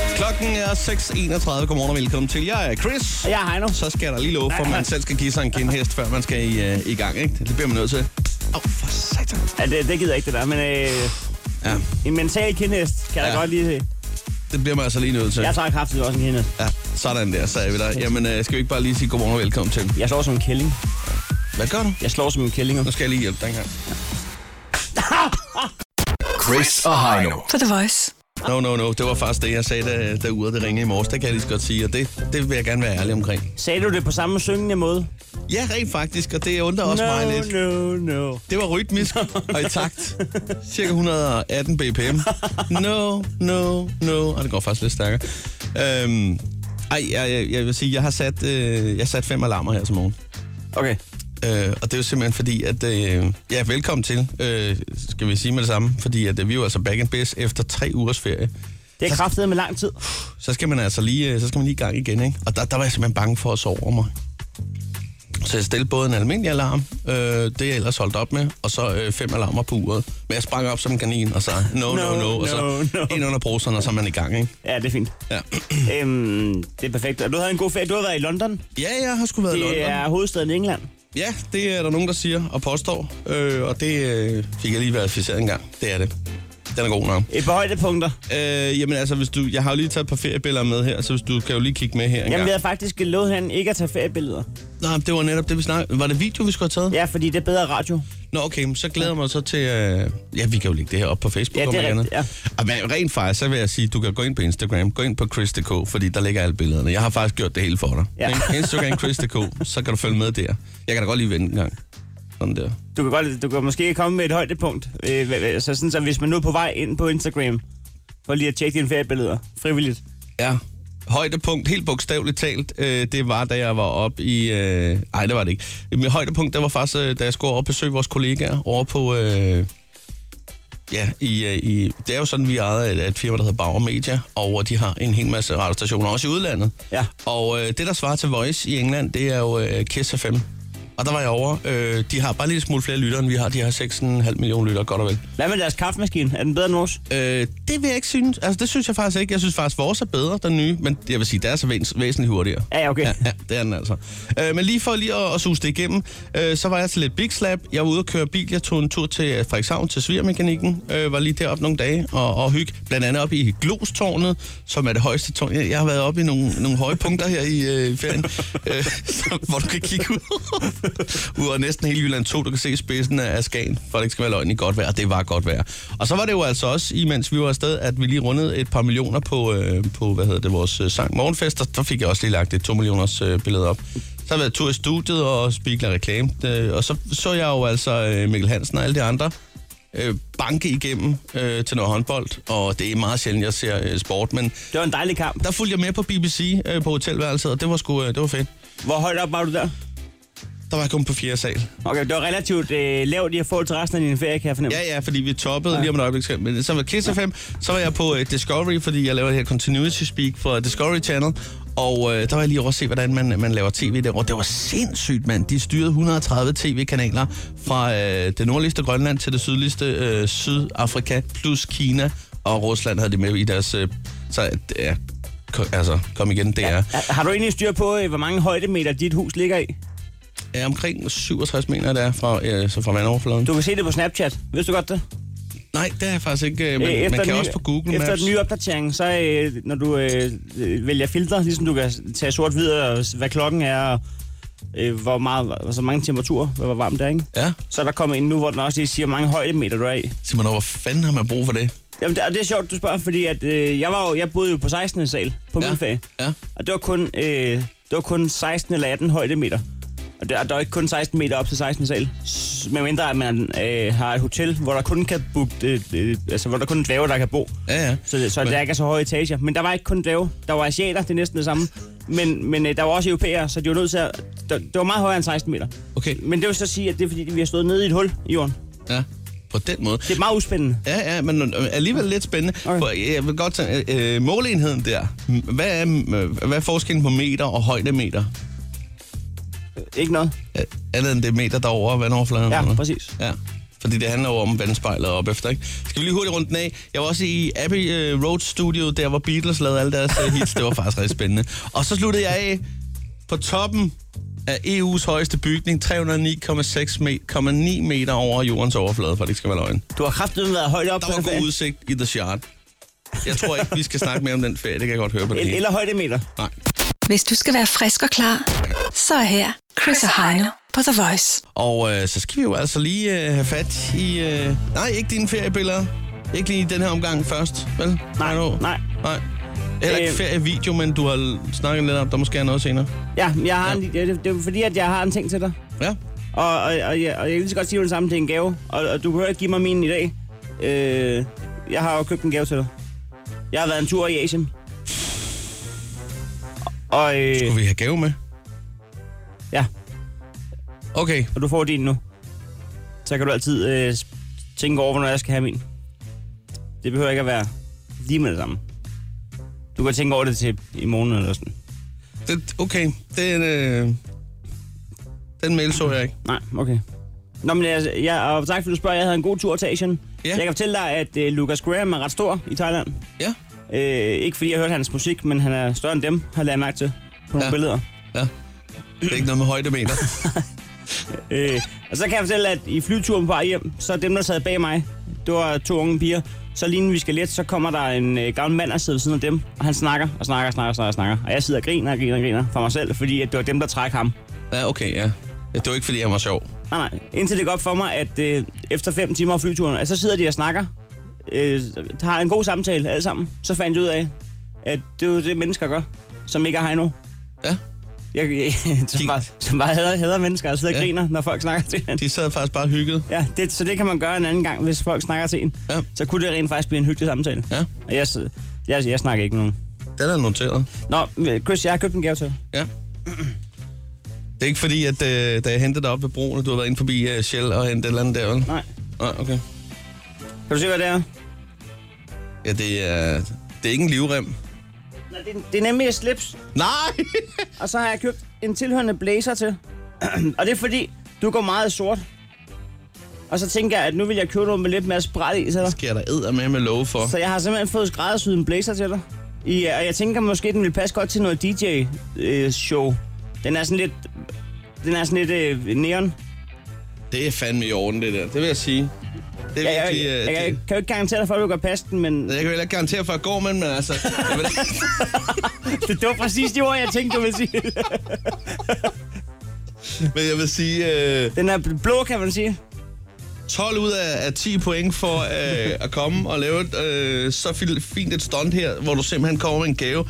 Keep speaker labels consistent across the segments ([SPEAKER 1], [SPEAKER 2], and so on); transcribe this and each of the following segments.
[SPEAKER 1] er 6.31. Godmorgen og velkommen til. Jeg er Chris.
[SPEAKER 2] Og jeg er Heino.
[SPEAKER 1] Så skal jeg da lige love for, at man selv skal give sig en kindhest, før man skal i, øh, i gang. Ikke? Det bliver man nødt til. Åh, oh, for satan.
[SPEAKER 2] Ja, det, det gider jeg ikke, det der, men øh,
[SPEAKER 1] Ja,
[SPEAKER 2] en mental kindhest kan jeg
[SPEAKER 1] Ja.
[SPEAKER 2] da godt lide.
[SPEAKER 1] det bliver man altså lige nødt til.
[SPEAKER 2] Jeg tager kraftigt også en kindhest.
[SPEAKER 1] Ja, sådan der, sagde vi dig. Jamen, øh, skal vi ikke bare lige sige godmorgen og velkommen til?
[SPEAKER 2] Jeg slår som en kælling.
[SPEAKER 1] Hvad gør du?
[SPEAKER 2] Jeg slår som en kælling.
[SPEAKER 1] Nu skal jeg lige hjælpe dig engang.
[SPEAKER 3] Chris og Heino.
[SPEAKER 4] På The Voice.
[SPEAKER 1] No, no, no. Det var faktisk det, jeg sagde, da, da uret det ringede i morges. Det kan jeg lige så godt sige, og det, det vil jeg gerne være ærlig omkring.
[SPEAKER 2] Sagde du det på samme syngende måde?
[SPEAKER 1] Ja, rent faktisk, og det undrer også
[SPEAKER 2] no,
[SPEAKER 1] mig lidt.
[SPEAKER 2] no, no.
[SPEAKER 1] Det var rytmisk og i takt. Cirka 118 bpm. No, no, no. Og det går faktisk lidt stærkere. Øhm, ej, jeg, jeg, jeg vil sige, jeg har sat, øh, jeg har sat fem alarmer her til morgen.
[SPEAKER 2] Okay.
[SPEAKER 1] Øh, og det er jo simpelthen fordi, at... Øh, ja, velkommen til, øh, skal vi sige med det samme. Fordi at, øh, vi er jo altså back in biz efter tre ugers ferie.
[SPEAKER 2] Det er kraftet med lang tid.
[SPEAKER 1] Så skal man altså lige, øh, så skal man lige i gang igen, ikke? Og der, der var jeg simpelthen bange for at sove over mig. Så jeg stillede både en almindelig alarm, øh, det er jeg ellers holdt op med, og så øh, fem alarmer på uret. Men jeg sprang op som en kanin, og så no, no, no,
[SPEAKER 2] No,
[SPEAKER 1] no og så
[SPEAKER 2] no, no.
[SPEAKER 1] ind under bruseren, og så er man i gang, ikke?
[SPEAKER 2] Ja, det er fint.
[SPEAKER 1] Ja,
[SPEAKER 2] Øhm, det er perfekt. Og du havde en god ferie. Du har været i London.
[SPEAKER 1] ja jeg har sgu været i London.
[SPEAKER 2] Det er hovedstaden i England.
[SPEAKER 1] Ja, det er der nogen, der siger og påstår, øh, og det øh, fik jeg lige verificeret en gang. Det er det. Den er god nok.
[SPEAKER 2] Et par højdepunkter.
[SPEAKER 1] Øh, jamen altså, hvis du, jeg har jo lige taget et par feriebilleder med her, så hvis du kan jo lige kigge med her en
[SPEAKER 2] Jamen, vi
[SPEAKER 1] gang.
[SPEAKER 2] havde faktisk lovet han ikke at tage feriebilleder.
[SPEAKER 1] Nej, det var netop det, vi snakkede. Var det video, vi skulle have taget?
[SPEAKER 2] Ja, fordi det er bedre radio.
[SPEAKER 1] Nå, okay, men så glæder jeg mig så til... Øh... Ja, vi kan jo lægge det her op på Facebook.
[SPEAKER 2] Ja, det er
[SPEAKER 1] om ikke
[SPEAKER 2] rigtigt,
[SPEAKER 1] andet. Og men rent faktisk, så vil jeg sige, du kan gå ind på Instagram, gå ind på Chris.dk, fordi der ligger alle billederne. Jeg har faktisk gjort det hele for dig.
[SPEAKER 2] Ja.
[SPEAKER 1] Men Instagram Chris.dk, så kan du følge med der. Jeg kan da godt lige vente en gang. Sådan der.
[SPEAKER 2] Du kan, godt, du kan måske komme med et højdepunkt. Øh, hva- hva- så sådan, så hvis man nu er på vej ind på Instagram, for lige at tjekke dine feriebilleder frivilligt.
[SPEAKER 1] Ja. Højdepunkt, helt bogstaveligt talt, øh, det var, da jeg var op i... Øh, ej, det var det ikke. Mit højdepunkt, det var faktisk, øh, da jeg skulle over og besøge vores kollegaer over på... Øh, ja, i, øh, i, det er jo sådan, vi ejer et, et firma, der hedder Bauer Media, og øh, de har en hel masse radiostationer, også i udlandet.
[SPEAKER 2] Ja.
[SPEAKER 1] Og øh, det, der svarer til Voice i England, det er jo øh, Kiss FM. Og der var jeg over. Øh, de har bare lidt smule flere lyttere, end vi har. De har 6,5 millioner lyttere, godt og vel.
[SPEAKER 2] Hvad med deres kaffemaskine? Er den bedre end vores?
[SPEAKER 1] Øh, det vil jeg ikke synes. Altså, det synes jeg faktisk ikke. Jeg synes faktisk, vores er bedre, den nye. Men jeg vil sige, der er så væs- væsentligt hurtigere.
[SPEAKER 2] Ja, ja, okay.
[SPEAKER 1] Ja, ja det er den altså. Øh, men lige for lige at, at suge det igennem, øh, så var jeg til lidt Big Slap. Jeg var ude og køre bil. Jeg tog en tur til øh, Frederikshavn til Svigermekanikken. Øh, var lige deroppe nogle dage og, og hygge. Blandt andet op i Glostårnet, som er det højeste tårn. Jeg, jeg har været oppe i nogle, nogle høje punkter her i øh, ferien, øh, som- hvor du kan kigge ud ud af næsten hele Jylland 2. Du kan se spidsen af af Skagen, for det ikke skal være løgn i godt vejr. og Det var godt vejr. Og så var det jo altså også, imens vi var afsted, at vi lige rundede et par millioner på, øh, på hvad hedder det, vores øh, sang Morgenfest. Og der fik jeg også lige lagt et 2 millioners øh, billede op. Så har jeg været tur i studiet og spikler reklame. Øh, og så så jeg jo altså øh, Mikkel Hansen og alle de andre øh, banke igennem øh, til noget håndbold. Og det er meget sjældent, jeg ser øh, sport, men
[SPEAKER 2] Det var en dejlig kamp.
[SPEAKER 1] der fulgte jeg med på BBC øh, på hotelværelset, og det var sgu øh, det var fedt.
[SPEAKER 2] Hvor højt op var du der?
[SPEAKER 1] Der var jeg kun på fjerde sal.
[SPEAKER 2] Okay, det var relativt øh, lavt i at få til resten af din ferie, kan jeg fornemme.
[SPEAKER 1] Ja, ja, fordi vi toppede ja. lige om et øjeblik. skal- Men så var Kiss FM, så var jeg på uh, Discovery, fordi jeg laver det her Continuity Speak for Discovery Channel. Og uh, der var jeg lige over at se, hvordan man, man laver tv derovre. Det var sindssygt, mand. De styrede 130 tv-kanaler fra uh, det nordligste Grønland til det sydligste uh, Sydafrika, plus Kina og Rusland havde de med i deres... Uh, så ja, ko- altså, kom igen, det er
[SPEAKER 2] Har- Har du egentlig styr på, øh, hvor mange højdemeter dit hus ligger i?
[SPEAKER 1] er omkring 67 meter, der er fra, øh, så fra vandoverfladen.
[SPEAKER 2] Du kan se det på Snapchat. Vidste du godt det?
[SPEAKER 1] Nej, det er jeg faktisk ikke. øh, Men,
[SPEAKER 2] Øh,
[SPEAKER 1] øh, man
[SPEAKER 2] den
[SPEAKER 1] kan
[SPEAKER 2] nye-
[SPEAKER 1] også på Google Maps.
[SPEAKER 2] Efter den nye opdatering, så øh, når du øh, øh, vælger filtre, ligesom du kan tage sort-hvid og s- hvad klokken er, og øh, hvor meget, hvor- så mange temperaturer, hvor hvor varmt det er, ikke?
[SPEAKER 1] Ja.
[SPEAKER 2] Så er der kommet ind nu, hvor den også lige siger, hvor mange højdemeter du er i.
[SPEAKER 1] Sig mig nu, hvor fanden har man brug for det?
[SPEAKER 2] Jamen, det, og det er sjovt, du spørger, fordi at, øh, jeg, var jo, jeg boede jo på 16. sal på min ferie,
[SPEAKER 1] Ja.
[SPEAKER 2] og det var, kun, øh, det var kun 16 eller 18 højdemeter. Og der, og der er ikke kun 16 meter op til 16. sal. S- Medmindre at man øh, har et hotel, hvor der kun kan booke, øh, øh, altså hvor der kun er dværge, der kan bo.
[SPEAKER 1] Ja, ja.
[SPEAKER 2] Så, det, så
[SPEAKER 1] Men-
[SPEAKER 2] der ikke er så høje etager. Men der var ikke kun dværge. Der var asiater, det er næsten det samme. Men, men øh, der var også europæere, så de var nødt til at... Der, det var meget højere end 16 meter.
[SPEAKER 1] Okay,
[SPEAKER 2] Men det vil så sige, at det er fordi, vi har stået nede i et hul i jorden.
[SPEAKER 1] ja. På den måde.
[SPEAKER 2] Det er meget uspændende.
[SPEAKER 1] Ja, ja, men øh, alligevel lidt spændende.
[SPEAKER 2] Okay.
[SPEAKER 1] For jeg vil godt tage, øh, øh, måleenheden der. M- Hvad er, øh, hvad er forskellen på meter og højdemeter?
[SPEAKER 2] Ikke noget.
[SPEAKER 1] Øh, Andet end det er meter derovre og vandoverfladen?
[SPEAKER 2] Ja,
[SPEAKER 1] eller?
[SPEAKER 2] præcis.
[SPEAKER 1] Ja. Fordi det handler jo om vandspejlet op efter, ikke? Skal vi lige hurtigt rundt den af? Jeg var også i Abbey øh, Road Studio, der hvor Beatles lavede alle deres øh, hits. Det var faktisk rigtig spændende. Og så sluttede jeg af på toppen af EU's højeste bygning, 309,6 me- meter over jordens overflade, for det ikke skal være løgn.
[SPEAKER 2] Du har kraftigt været højt op.
[SPEAKER 1] Der var god udsigt i The Shard. Jeg tror ikke, vi skal snakke mere om den ferie. Det kan jeg godt høre på det
[SPEAKER 2] Eller,
[SPEAKER 1] hele.
[SPEAKER 2] eller højdemeter.
[SPEAKER 1] Nej.
[SPEAKER 4] Hvis du skal være frisk og klar, så er her Chris og Heino på The Voice.
[SPEAKER 1] Og øh, så skal vi jo altså lige øh, have fat i... Øh... Nej, ikke dine feriebilleder. Ikke lige i den her omgang først, vel?
[SPEAKER 2] Nej,
[SPEAKER 1] Heino?
[SPEAKER 2] nej.
[SPEAKER 1] nej. Heller ikke
[SPEAKER 2] Øh.
[SPEAKER 1] ferievideo, men du har l- snakket lidt om, der måske er noget senere.
[SPEAKER 2] Ja, men jeg har en, det, det, det er fordi, at jeg har en ting til dig.
[SPEAKER 1] Ja,
[SPEAKER 2] Og, og, og, jeg, og jeg kan lige så godt sige, at det er samme, det er en gave. Og, og du behøver ikke give mig min i dag. Øh, jeg har jo købt en gave til dig. Jeg har været en tur i Asien. Og øh,
[SPEAKER 1] kunne vi have gave med?
[SPEAKER 2] ja,
[SPEAKER 1] Okay,
[SPEAKER 2] og du får din nu. Så kan du altid øh, tænke over, hvornår jeg skal have min. Det behøver ikke at være lige med det samme. Du kan tænke over det til i morgen eller sådan.
[SPEAKER 1] det, okay. Den, øh... den mail så jeg ikke.
[SPEAKER 2] Nej, okay. Nå, men altså, ja, og tak fordi du spørger. Jeg havde en god tur til Asien.
[SPEAKER 1] Ja.
[SPEAKER 2] Ja. Jeg kan fortælle dig, at øh, Lucas Graham er ret stor i Thailand.
[SPEAKER 1] Ja,
[SPEAKER 2] Øh, ikke fordi jeg hørte hans musik, men han er større end dem, har jeg lagt mærke til på nogle
[SPEAKER 1] Ja.
[SPEAKER 2] ja. billeder.
[SPEAKER 1] ja. Det er ikke noget med højdemeter.
[SPEAKER 2] Øh, og så kan jeg fortælle, at i flyturen på vej hjem, så dem, der sad bag mig, det var to unge piger. Så lige inden vi skal let, så kommer der en øh, gammel mand, der sidder ved siden af dem, og han snakker og snakker og snakker og snakker og snakker. Og jeg sidder og griner og griner og griner for mig selv, fordi at det var dem, der trak ham.
[SPEAKER 1] Ja, okay, ja. Det var ikke, fordi jeg var sjov.
[SPEAKER 2] Nej, nej. Indtil det går op for mig, at øh, efter 5 timer af flyturen, at så sidder de og snakker. Øh, har en god samtale alle sammen. Så fandt jeg ud af, at det er jo det, mennesker gør, som ikke er hej nu.
[SPEAKER 1] Ja,
[SPEAKER 2] Jeg, jeg, som bare, som bare hader, hader mennesker og sidder og
[SPEAKER 1] Ja.
[SPEAKER 2] ja. griner, når folk snakker til hinanden.
[SPEAKER 1] de sad faktisk bare hygget.
[SPEAKER 2] Ja, det, så det kan man gøre en anden gang, hvis folk snakker til en.
[SPEAKER 1] Ja.
[SPEAKER 2] Så kunne det rent faktisk blive en hyggelig samtale.
[SPEAKER 1] Ja.
[SPEAKER 2] Og jeg, s- jeg, jeg snakker ikke med nogen.
[SPEAKER 1] Den er noteret.
[SPEAKER 2] Nå, Chris, jeg har købt en gave til dig.
[SPEAKER 1] Ja. Det er ikke fordi, at øh, da jeg hentede dig op ved broen, at du har været inde forbi øh, Shell og hentet et eller andet der, vel?
[SPEAKER 2] Nej.
[SPEAKER 1] Nej, okay.
[SPEAKER 2] Kan du se, hvad det er?
[SPEAKER 1] Ja, det er, det er ikke en livrem.
[SPEAKER 2] Nej, det, det er nemlig et slips,
[SPEAKER 1] Nej!
[SPEAKER 2] og så har jeg købt en tilhørende blazer til. og det er fordi, du går meget i sort. Og så tænker jeg, at nu vil jeg købe noget med lidt mere spræt i til dig.
[SPEAKER 1] Det skal jeg da æder med med love for.
[SPEAKER 2] Så jeg har simpelthen fået skræddersyet en blazer til dig. I, øh, og jeg tænker måske, den vil passe godt til noget DJ-show. Den er sådan lidt... Den er sådan lidt øh, neon.
[SPEAKER 1] Det er fandme i orden, det der. Det vil jeg sige. Det er
[SPEAKER 2] Jeg,
[SPEAKER 1] virkelig...
[SPEAKER 2] jeg,
[SPEAKER 1] Øh,
[SPEAKER 2] jeg, jeg
[SPEAKER 1] det,
[SPEAKER 2] kan jo ikke garantere dig for, at du kan passe den, men
[SPEAKER 1] jeg kan heller ikke garantere for at gå med, den, men altså... Jeg vil,
[SPEAKER 2] det, det var præcis de ord, jeg tænkte, du ville sige.
[SPEAKER 1] men jeg vil sige... Øh,
[SPEAKER 2] Den er blå, kan man sige.
[SPEAKER 1] 12 ud af, af 10 point for øh, at komme og lave et, øh, så fil- fint et stunt her, hvor du simpelthen kommer med en gave.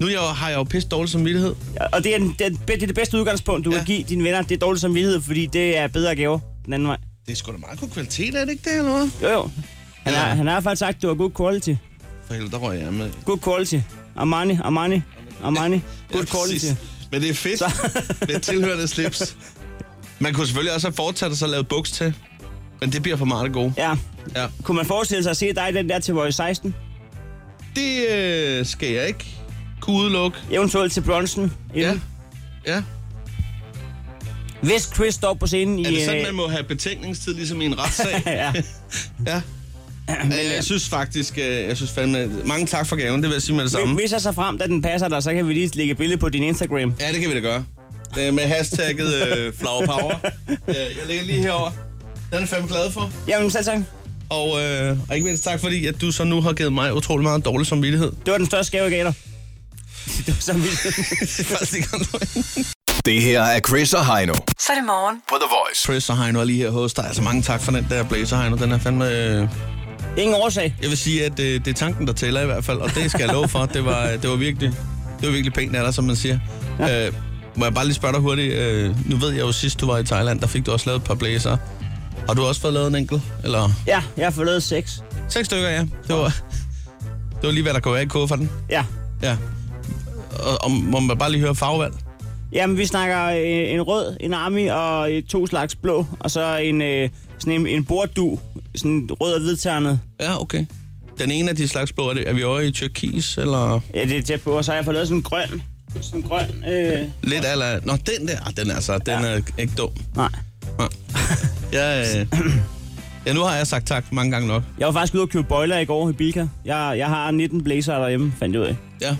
[SPEAKER 1] Nu er jeg, jo- har jeg jo pisse dårlig samvittighed.
[SPEAKER 2] Og det er, den, den, det, er det bedste udgangspunkt, du
[SPEAKER 1] Ja.
[SPEAKER 2] ja. kan give dine venner. Det er dårlig samvittighed, fordi det er bedre gaver den anden vej.
[SPEAKER 1] Det er sgu da meget god kvalitet, er det ikke det, eller hvad?
[SPEAKER 2] Jo, jo. Han,
[SPEAKER 1] Ja.
[SPEAKER 2] har, han har faktisk sagt, at du har good quality.
[SPEAKER 1] For helvede, der røg jeg med.
[SPEAKER 2] Good quality. Armani, Armani, Armani. Good
[SPEAKER 1] præcis.
[SPEAKER 2] quality.
[SPEAKER 1] Men det er fedt med tilhørende slips. Man kunne selvfølgelig også have fortsat og så lavet buks til. Men det bliver for meget det gode.
[SPEAKER 2] Ja.
[SPEAKER 1] Ja.
[SPEAKER 2] Kunne man forestille sig at se dig i den der til Voice 16?
[SPEAKER 1] Det øh, skal jeg ikke kunne udelukke.
[SPEAKER 2] Eventuelt til Bronson.
[SPEAKER 1] Ja.
[SPEAKER 2] Ja.
[SPEAKER 1] Ja.
[SPEAKER 2] Hvis Chris står på scenen i...
[SPEAKER 1] Er det sådan,
[SPEAKER 2] øh,
[SPEAKER 1] man må have betænkningstid, ligesom i en retssag?
[SPEAKER 2] ja.
[SPEAKER 1] ja. Men, øh, jeg synes faktisk, øh, jeg synes fandme, mange tak for gaven, det vil jeg sige med det samme.
[SPEAKER 2] Hvis jeg så frem, da den passer dig, så kan vi lige lægge et billede på din Instagram.
[SPEAKER 1] Ja, det kan vi da gøre. Det er med hashtagget øh, flower power. Øh, jeg lægger lige herover. Den er jeg fandme glad for.
[SPEAKER 2] Jamen, selv tak.
[SPEAKER 1] Og, øh, og ikke mindst tak, fordi at du så nu har givet mig utrolig meget dårlig samvittighed.
[SPEAKER 2] Det var den største gave, jeg gav dig. Det var så vildt.
[SPEAKER 1] Det er faktisk ikke løgn.
[SPEAKER 3] Det her er Chris og Heino
[SPEAKER 4] Så er det morgen.
[SPEAKER 3] på The Voice.
[SPEAKER 1] Chris og Heino er lige her hos dig. Altså mange tak for den der blazer, Heino. Den er fandme... Øh...
[SPEAKER 2] Ingen årsag.
[SPEAKER 1] Jeg vil sige, at øh, det er tanken, der tæller i hvert fald. Og det skal jeg love for. Det var, øh, det var virkelig, det var virkelig pænt af dig, som man siger. Ja. Øh, må jeg bare lige spørge dig hurtigt. Øh, nu ved jeg jo, sidst du var i Thailand, der fik du også lavet et par blazer. Har du også fået lavet en enkelt? Eller...
[SPEAKER 2] Ja, jeg har fået lavet seks.
[SPEAKER 1] Seks stykker, ja. Det var, det var lige, hvad der kunne være i kufferten.
[SPEAKER 2] Ja.
[SPEAKER 1] Ja. Og, og må man bare lige høre farvevalg?
[SPEAKER 2] Jamen, vi snakker øh, en rød, en army og øh, to slags blå, og så en, øh, sådan en, en borddu, sådan en rød og hvidternet.
[SPEAKER 1] Ja, okay. Den ene af de slags blå, er, det, er vi over i Tyrkis, eller
[SPEAKER 2] Ja, det er tæt på, og så har jeg fået lavet sådan en grøn. Sådan en grøn, øh,
[SPEAKER 1] lidt eller... Nå, altså- den der, ah, den er så, den
[SPEAKER 2] Ja.
[SPEAKER 1] er ikke dum.
[SPEAKER 2] nej.
[SPEAKER 1] Ja, øh, Ja, nu har jeg sagt tak mange gange nok.
[SPEAKER 2] Jeg var faktisk ude og købe boiler i går i Bilka. Jeg, jeg har 19 blazer derhjemme, fandt jeg ud af.
[SPEAKER 1] Ja.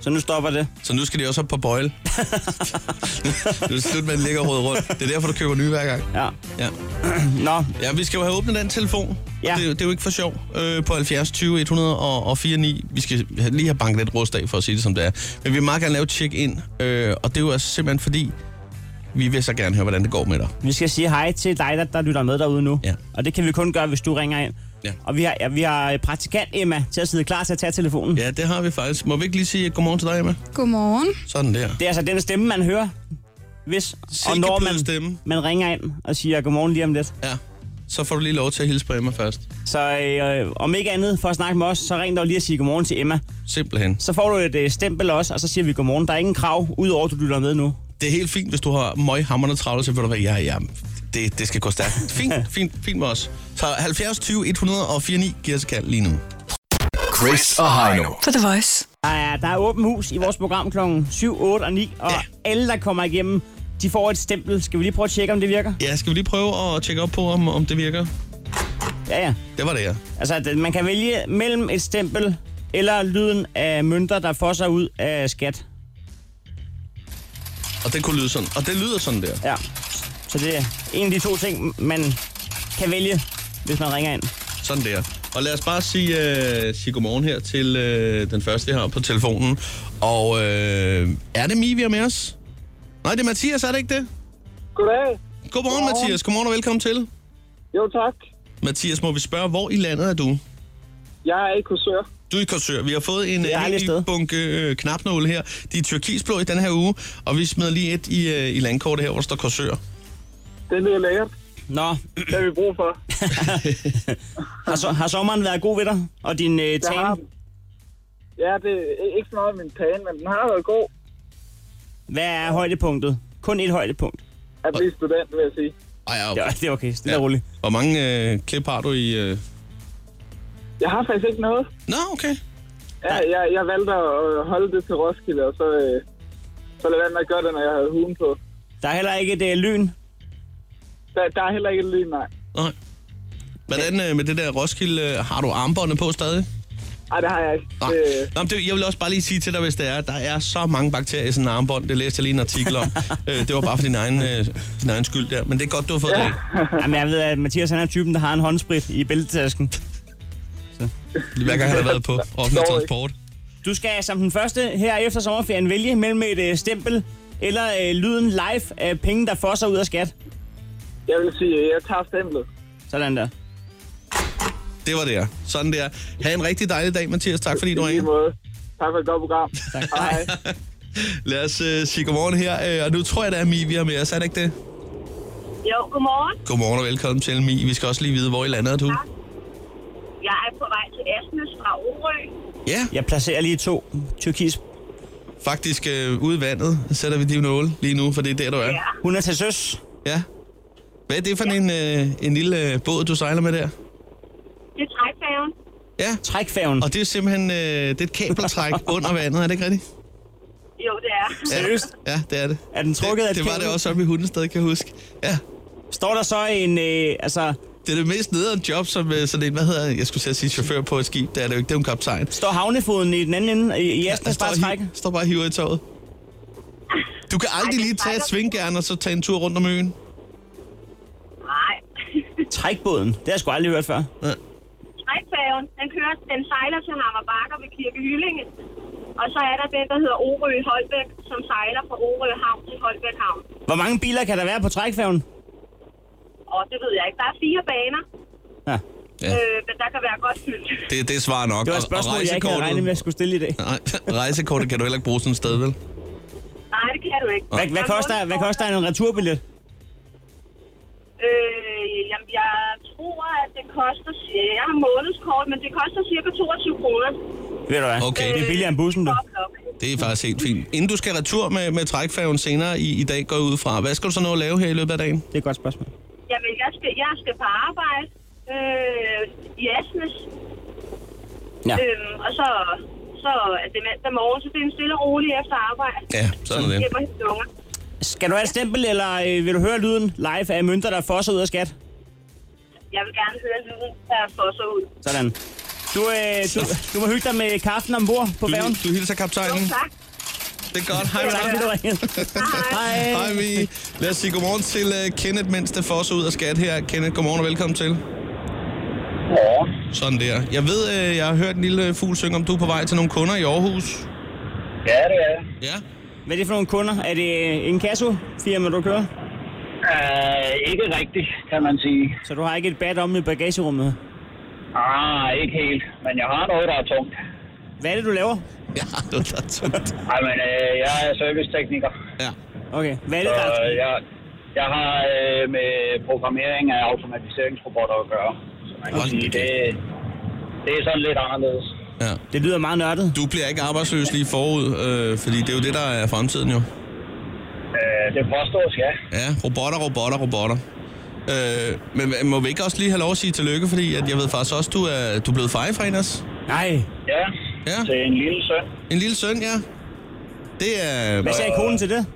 [SPEAKER 2] Så nu stopper det.
[SPEAKER 1] Så nu skal de også op på bøjle. nu er det slut med at ligge og rode rundt. Det er derfor, du køber nye hver gang.
[SPEAKER 2] Ja.
[SPEAKER 1] Ja.
[SPEAKER 2] Nå,
[SPEAKER 1] Ja, vi skal jo have åbnet den telefon.
[SPEAKER 2] Ja.
[SPEAKER 1] Det, det er jo ikke for sjov øh, på 70 20 104 9. Vi skal lige have banket lidt rust af for at sige det, som det er. Men vi vil meget gerne lave et check-in, øh, og det er jo altså simpelthen fordi, vi vil så gerne høre, hvordan det går med dig.
[SPEAKER 2] vi skal sige hej til dig, der, der lytter med derude nu.
[SPEAKER 1] Ja.
[SPEAKER 2] Og det kan vi kun gøre, hvis du ringer ind.
[SPEAKER 1] Ja.
[SPEAKER 2] Og vi har, ja, vi har øh, praktikant Emma til at sidde klar til at tage telefonen.
[SPEAKER 1] Ja, det har vi faktisk. Må vi ikke lige sige godmorgen til dig, Emma?
[SPEAKER 5] Godmorgen.
[SPEAKER 1] Sådan der.
[SPEAKER 2] Det er altså den stemme, man hører, hvis og når
[SPEAKER 1] Silkeblød
[SPEAKER 2] man,
[SPEAKER 1] stemme.
[SPEAKER 2] man ringer ind og siger godmorgen lige om lidt.
[SPEAKER 1] Ja. Så får du lige lov til at hilse på Emma først.
[SPEAKER 2] Så øh, om ikke andet for at snakke med os, så ring dog lige og sige godmorgen til Emma.
[SPEAKER 1] Simpelthen.
[SPEAKER 2] Så får du et øh, stempel også, og så siger vi godmorgen. Der er ingen krav, udover at du lytter med nu.
[SPEAKER 1] Det er helt fint, hvis du har møghammerne travlt, så vil du være, ja, ja, det, det skal gå stærkt. Fint, fint, fint med os. Så 70 20 104 9 giver os et kald lige nu.
[SPEAKER 3] Chris og Heino.
[SPEAKER 4] På The Voice.
[SPEAKER 2] Der er, der er åben hus i vores program klokken 7, 8 og 9, og
[SPEAKER 1] Ja.
[SPEAKER 2] alle, der kommer igennem, de får et stempel. Skal vi lige prøve at tjekke, om det virker?
[SPEAKER 1] Ja, skal vi lige prøve at tjekke op på, om, om det virker?
[SPEAKER 2] Ja, ja.
[SPEAKER 1] Det var det, ja.
[SPEAKER 2] Altså, det- man kan vælge mellem et stempel eller lyden af mønter, der får sig ud af skat.
[SPEAKER 1] Og det kunne lyde sådan. Og det lyder sådan der.
[SPEAKER 2] Ja. Så det er en af de to ting, man kan vælge, hvis man ringer ind.
[SPEAKER 1] Sådan der. Og lad os bare sige, øh, sige godmorgen her til øh, den første her på telefonen. Og øh, er det Mie, vi har med os? Nej, det er Mathias, er det ikke det?
[SPEAKER 6] Goddag.
[SPEAKER 1] Godmorgen, godmorgen. Mathias. Godmorgen og velkommen til.
[SPEAKER 6] Jo, tak.
[SPEAKER 1] Mathias, må vi spørge, hvor i landet er du?
[SPEAKER 6] Jeg er i Korsør.
[SPEAKER 1] Du er i Korsør. Vi har fået en
[SPEAKER 2] et
[SPEAKER 1] øh,
[SPEAKER 2] dejligt
[SPEAKER 1] ny
[SPEAKER 2] sted.
[SPEAKER 1] bunke øh, knapnåle her. De er turkisblå i den her uge, og vi smider lige et i, øh, i landkortet her, hvor der står Korsør.
[SPEAKER 6] Det lyder lækkert.
[SPEAKER 2] Nå,
[SPEAKER 6] Det har vi brug for.
[SPEAKER 2] har, so- har sommeren været god ved dig? Og din øh,
[SPEAKER 6] Jeg
[SPEAKER 2] tan?
[SPEAKER 6] har den. Ja, det er ikke så meget min tan, men den har været god
[SPEAKER 2] Hvad er højdepunktet? Kun et højdepunkt.
[SPEAKER 6] at blive student, vil jeg sige.
[SPEAKER 1] Ej, ja,
[SPEAKER 2] Ja, det er okay. Stille og roligt.
[SPEAKER 1] Hvor mange øh, klip har du i... Øh...
[SPEAKER 6] Jeg har faktisk ikke noget.
[SPEAKER 1] Nå, okay.
[SPEAKER 6] Ja, jeg, jeg valgte at holde det til Roskilde, og så, øh, så lade være med at gøre det, når jeg havde huden på.
[SPEAKER 2] Der er heller ikke et øh, lyn.
[SPEAKER 6] Der, der er heller ikke et lyn, nej.
[SPEAKER 1] Nej. Hvordan øh, med det der Roskilde, øh, har du armbåndet på stadig?
[SPEAKER 6] Ej, det har jeg ikke.
[SPEAKER 1] Nej.
[SPEAKER 6] Det,
[SPEAKER 1] Nå, men det, jeg vil også bare lige sige til dig, hvis det er, at der er så mange bakterier i sådan en armbånd. Det læste jeg lige en artikel om. øh, det var bare for din egen, øh, din egen skyld der. Men det er godt, du har fået ja. det af.
[SPEAKER 2] Jamen, jeg ved, at Mathias han er typen, der har en håndsprit i bæltetasken.
[SPEAKER 1] Hver gang han har været på offentlig
[SPEAKER 6] Sorry.
[SPEAKER 1] transport.
[SPEAKER 2] Du skal som den første her efter sommerferien vælge mellem et øh, stempel eller øh, lyden live af penge, der fosser ud af skat.
[SPEAKER 6] jeg vil sige, at jeg tager stemplet.
[SPEAKER 2] Sådan der.
[SPEAKER 1] Det var det, ja. Sådan der. Ha' en rigtig dejlig dag, Mathias. Tak fordi du
[SPEAKER 6] I
[SPEAKER 1] er
[SPEAKER 6] lige
[SPEAKER 1] her.
[SPEAKER 6] måde. Tak for et godt program.
[SPEAKER 2] Tak.
[SPEAKER 6] Hej.
[SPEAKER 1] Lad os øh, sige godmorgen her. Øh, og nu tror jeg, det er Mie, vi har med os. Er det ikke det?
[SPEAKER 7] Jo, godmorgen.
[SPEAKER 1] Godmorgen og velkommen til, Mie. Vi skal også lige vide, hvor i landet er du.
[SPEAKER 7] Jeg er på vej til Asnes fra Orø.
[SPEAKER 1] Ja,
[SPEAKER 2] Jeg placerer lige to tyrkis.
[SPEAKER 1] faktisk øh, ude i vandet sætter vi de nåle lige nu, for det er der, du er.
[SPEAKER 7] Ja.
[SPEAKER 2] Hun er til søs.
[SPEAKER 1] Ja. Hvad er det for ja. en, øh, en lille øh, båd, du sejler med der?
[SPEAKER 7] Det er trækfærgen.
[SPEAKER 1] Ja.
[SPEAKER 2] Trækfærgen.
[SPEAKER 1] Og det er simpelthen øh, det er et kabeltræk under vandet, er det ikke rigtigt?
[SPEAKER 7] Jo, det er.
[SPEAKER 2] Seriøst?
[SPEAKER 1] Ja, det er det.
[SPEAKER 2] Er den trukket af
[SPEAKER 1] det,
[SPEAKER 2] et
[SPEAKER 1] det var
[SPEAKER 2] kabel?
[SPEAKER 1] det også oppe i hundested, kan jeg huske. Ja,
[SPEAKER 2] Står der så en, øh, altså,
[SPEAKER 1] det er det mest nederen job, som øh, sådan en, hvad hedder, jeg skulle til at sige chauffør på et skib, det er det jo ikke, det er jo en kaptajn.
[SPEAKER 2] står havnefoden i den anden ende i, i
[SPEAKER 1] Ja,
[SPEAKER 2] Asnes
[SPEAKER 1] står,
[SPEAKER 2] bare
[SPEAKER 1] og hi-
[SPEAKER 2] trækker?
[SPEAKER 1] står bare og hiver i toget. Du kan aldrig
[SPEAKER 7] det
[SPEAKER 1] lige tage et
[SPEAKER 7] trækker.
[SPEAKER 1] svinggern og så tage en tur rundt om øen.
[SPEAKER 7] Nej.
[SPEAKER 2] Trækbåden. Det har jeg sgu aldrig hørt før.
[SPEAKER 7] trækfærgen, den kører, den sejler til Hammer Bakker ved Kirke Hyllinge. Og så er der den, der hedder Orø Holbæk, som sejler fra Orø Havn til Holbæk Havn.
[SPEAKER 2] Hvor mange biler kan der være på trækfærgen?
[SPEAKER 7] Og det ved jeg ikke. Der er fire baner,
[SPEAKER 2] Ja.
[SPEAKER 1] Ja.
[SPEAKER 7] øh, men der kan være godt fyldt.
[SPEAKER 1] Det, det svarer nok.
[SPEAKER 2] Det var
[SPEAKER 1] Og-
[SPEAKER 2] et
[SPEAKER 1] og
[SPEAKER 2] spørgsmål, jeg ikke havde
[SPEAKER 1] rejsekortet-
[SPEAKER 2] regnet med, at skulle stille i dag.
[SPEAKER 1] Nej, rejsekortet kan du heller ikke bruge sådan et sted, vel?
[SPEAKER 7] Nej, det kan du ikke.
[SPEAKER 2] Hvad, hvad, koster, hvad koster en returbillet?
[SPEAKER 7] Øh, jamen, jeg tror, at det koster... cirka- Jeg har månedskort, men det koster cirka 22 kroner.
[SPEAKER 2] Ved du hvad?
[SPEAKER 1] Okay.
[SPEAKER 2] Det er billigere end bussen, du.
[SPEAKER 7] Godt nok.
[SPEAKER 1] Det er faktisk helt fint. Inden du skal retur med, med trækfærgen senere i, i dag, går jeg ud fra. Hvad skal du så nå at lave her i løbet af dagen?
[SPEAKER 2] Det er et godt spørgsmål.
[SPEAKER 7] Jamen, jeg skal, jeg skal på arbejde øh, i Asnes.
[SPEAKER 2] Ja.
[SPEAKER 7] Øhm, og så, så er det mandag morgen, så det er en stille og rolig efter arbejde.
[SPEAKER 1] Ja, sådan er det.
[SPEAKER 7] Hjemme og hente unger.
[SPEAKER 2] Skal du have et stempel, eller øh, vil du høre lyden live af mønter, der fosser ud af skat?
[SPEAKER 7] Jeg vil gerne høre lyden, der fosser ud.
[SPEAKER 2] Sådan. Du, øh, du, du må hygge dig med kaffen ombord på
[SPEAKER 1] Du,
[SPEAKER 2] færgen.
[SPEAKER 1] du hilser kaptajnen.
[SPEAKER 7] Jo, tak.
[SPEAKER 1] Det er godt. Hej med
[SPEAKER 2] Tak,
[SPEAKER 1] dig.
[SPEAKER 2] fordi du ringede.
[SPEAKER 7] Hej.
[SPEAKER 1] Hej, vi. Lad os sige godmorgen til uh, Kenneth, mens det fosser ud af skat her. Kenneth, godmorgen og velkommen til.
[SPEAKER 6] Morgen.
[SPEAKER 1] Sådan der. Jeg ved, uh, jeg har hørt en lille fugl synge, om du er på vej til nogle kunder i Aarhus.
[SPEAKER 6] Ja, det er det.
[SPEAKER 1] Ja.
[SPEAKER 2] Hvad er det for nogle kunder? Er det øh, en kassofirma, du kører?
[SPEAKER 6] Uh, ikke rigtigt, kan man sige.
[SPEAKER 2] Så du har ikke et bad om i bagagerummet?
[SPEAKER 6] Ah, ikke helt. Men jeg har noget, der er tungt.
[SPEAKER 2] Hvad er det, du laver?
[SPEAKER 1] Ja, det var da tungt.
[SPEAKER 6] Ej, men øh, jeg er servicetekniker.
[SPEAKER 1] Ja.
[SPEAKER 2] Okay, hvad er det,
[SPEAKER 6] Så
[SPEAKER 1] Øh.
[SPEAKER 2] der...
[SPEAKER 6] jeg, jeg har øh, med programmering af automatiseringsrobotter at gøre. Så man kan
[SPEAKER 1] Hold
[SPEAKER 6] sige,
[SPEAKER 1] da
[SPEAKER 6] det, det er sådan lidt anderledes.
[SPEAKER 1] ja.
[SPEAKER 2] Det lyder meget nørdet.
[SPEAKER 1] Du bliver ikke arbejdsløs lige forud, øh, fordi det er jo det, der er fremtiden jo.
[SPEAKER 6] Øh, det påstås, ja.
[SPEAKER 1] Ja, robotter, robotter, robotter. Øh, men hva- må vi ikke også lige have lov at sige tillykke, fordi at jeg ved faktisk også, du er, du er blevet fejefrænders.
[SPEAKER 2] Nej.
[SPEAKER 6] Ja,
[SPEAKER 1] Ja.
[SPEAKER 6] til en lille søn.
[SPEAKER 1] En lille søn, ja. Det er...
[SPEAKER 2] Hvad sagde konen til det?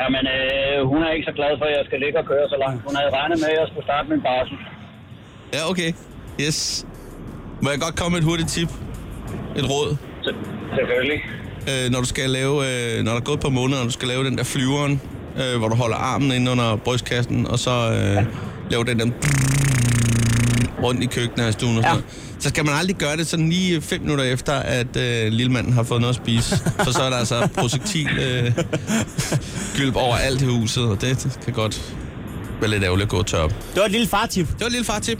[SPEAKER 6] Jamen, øh, hun er ikke så glad for, at jeg skal ligge og køre så langt. Hun havde regnet med, at jeg skulle starte min barsel.
[SPEAKER 1] Ja, okay. Yes. Må jeg godt komme med et hurtigt tip? Et råd?
[SPEAKER 6] Se- Selvfølgelig.
[SPEAKER 1] Øh, når du skal lave... Øh, når der er gået et par måneder, og du skal lave den der flyveren, øh, hvor du holder armen ind under brystkassen, og så øh, laver den der... rundt i køkkenet og i stuen og sådan
[SPEAKER 2] Ja.
[SPEAKER 1] noget. Så skal man aldrig gøre det sådan lige øh, fem minutter efter, at øh, lillemanden har fået noget at spise. For så er der altså projektil øh, gylp over alt i huset, og det kan godt være lidt ærgerligt at gå og tørre op. Det
[SPEAKER 2] Det var et lille fartip.
[SPEAKER 1] var et lille fartip.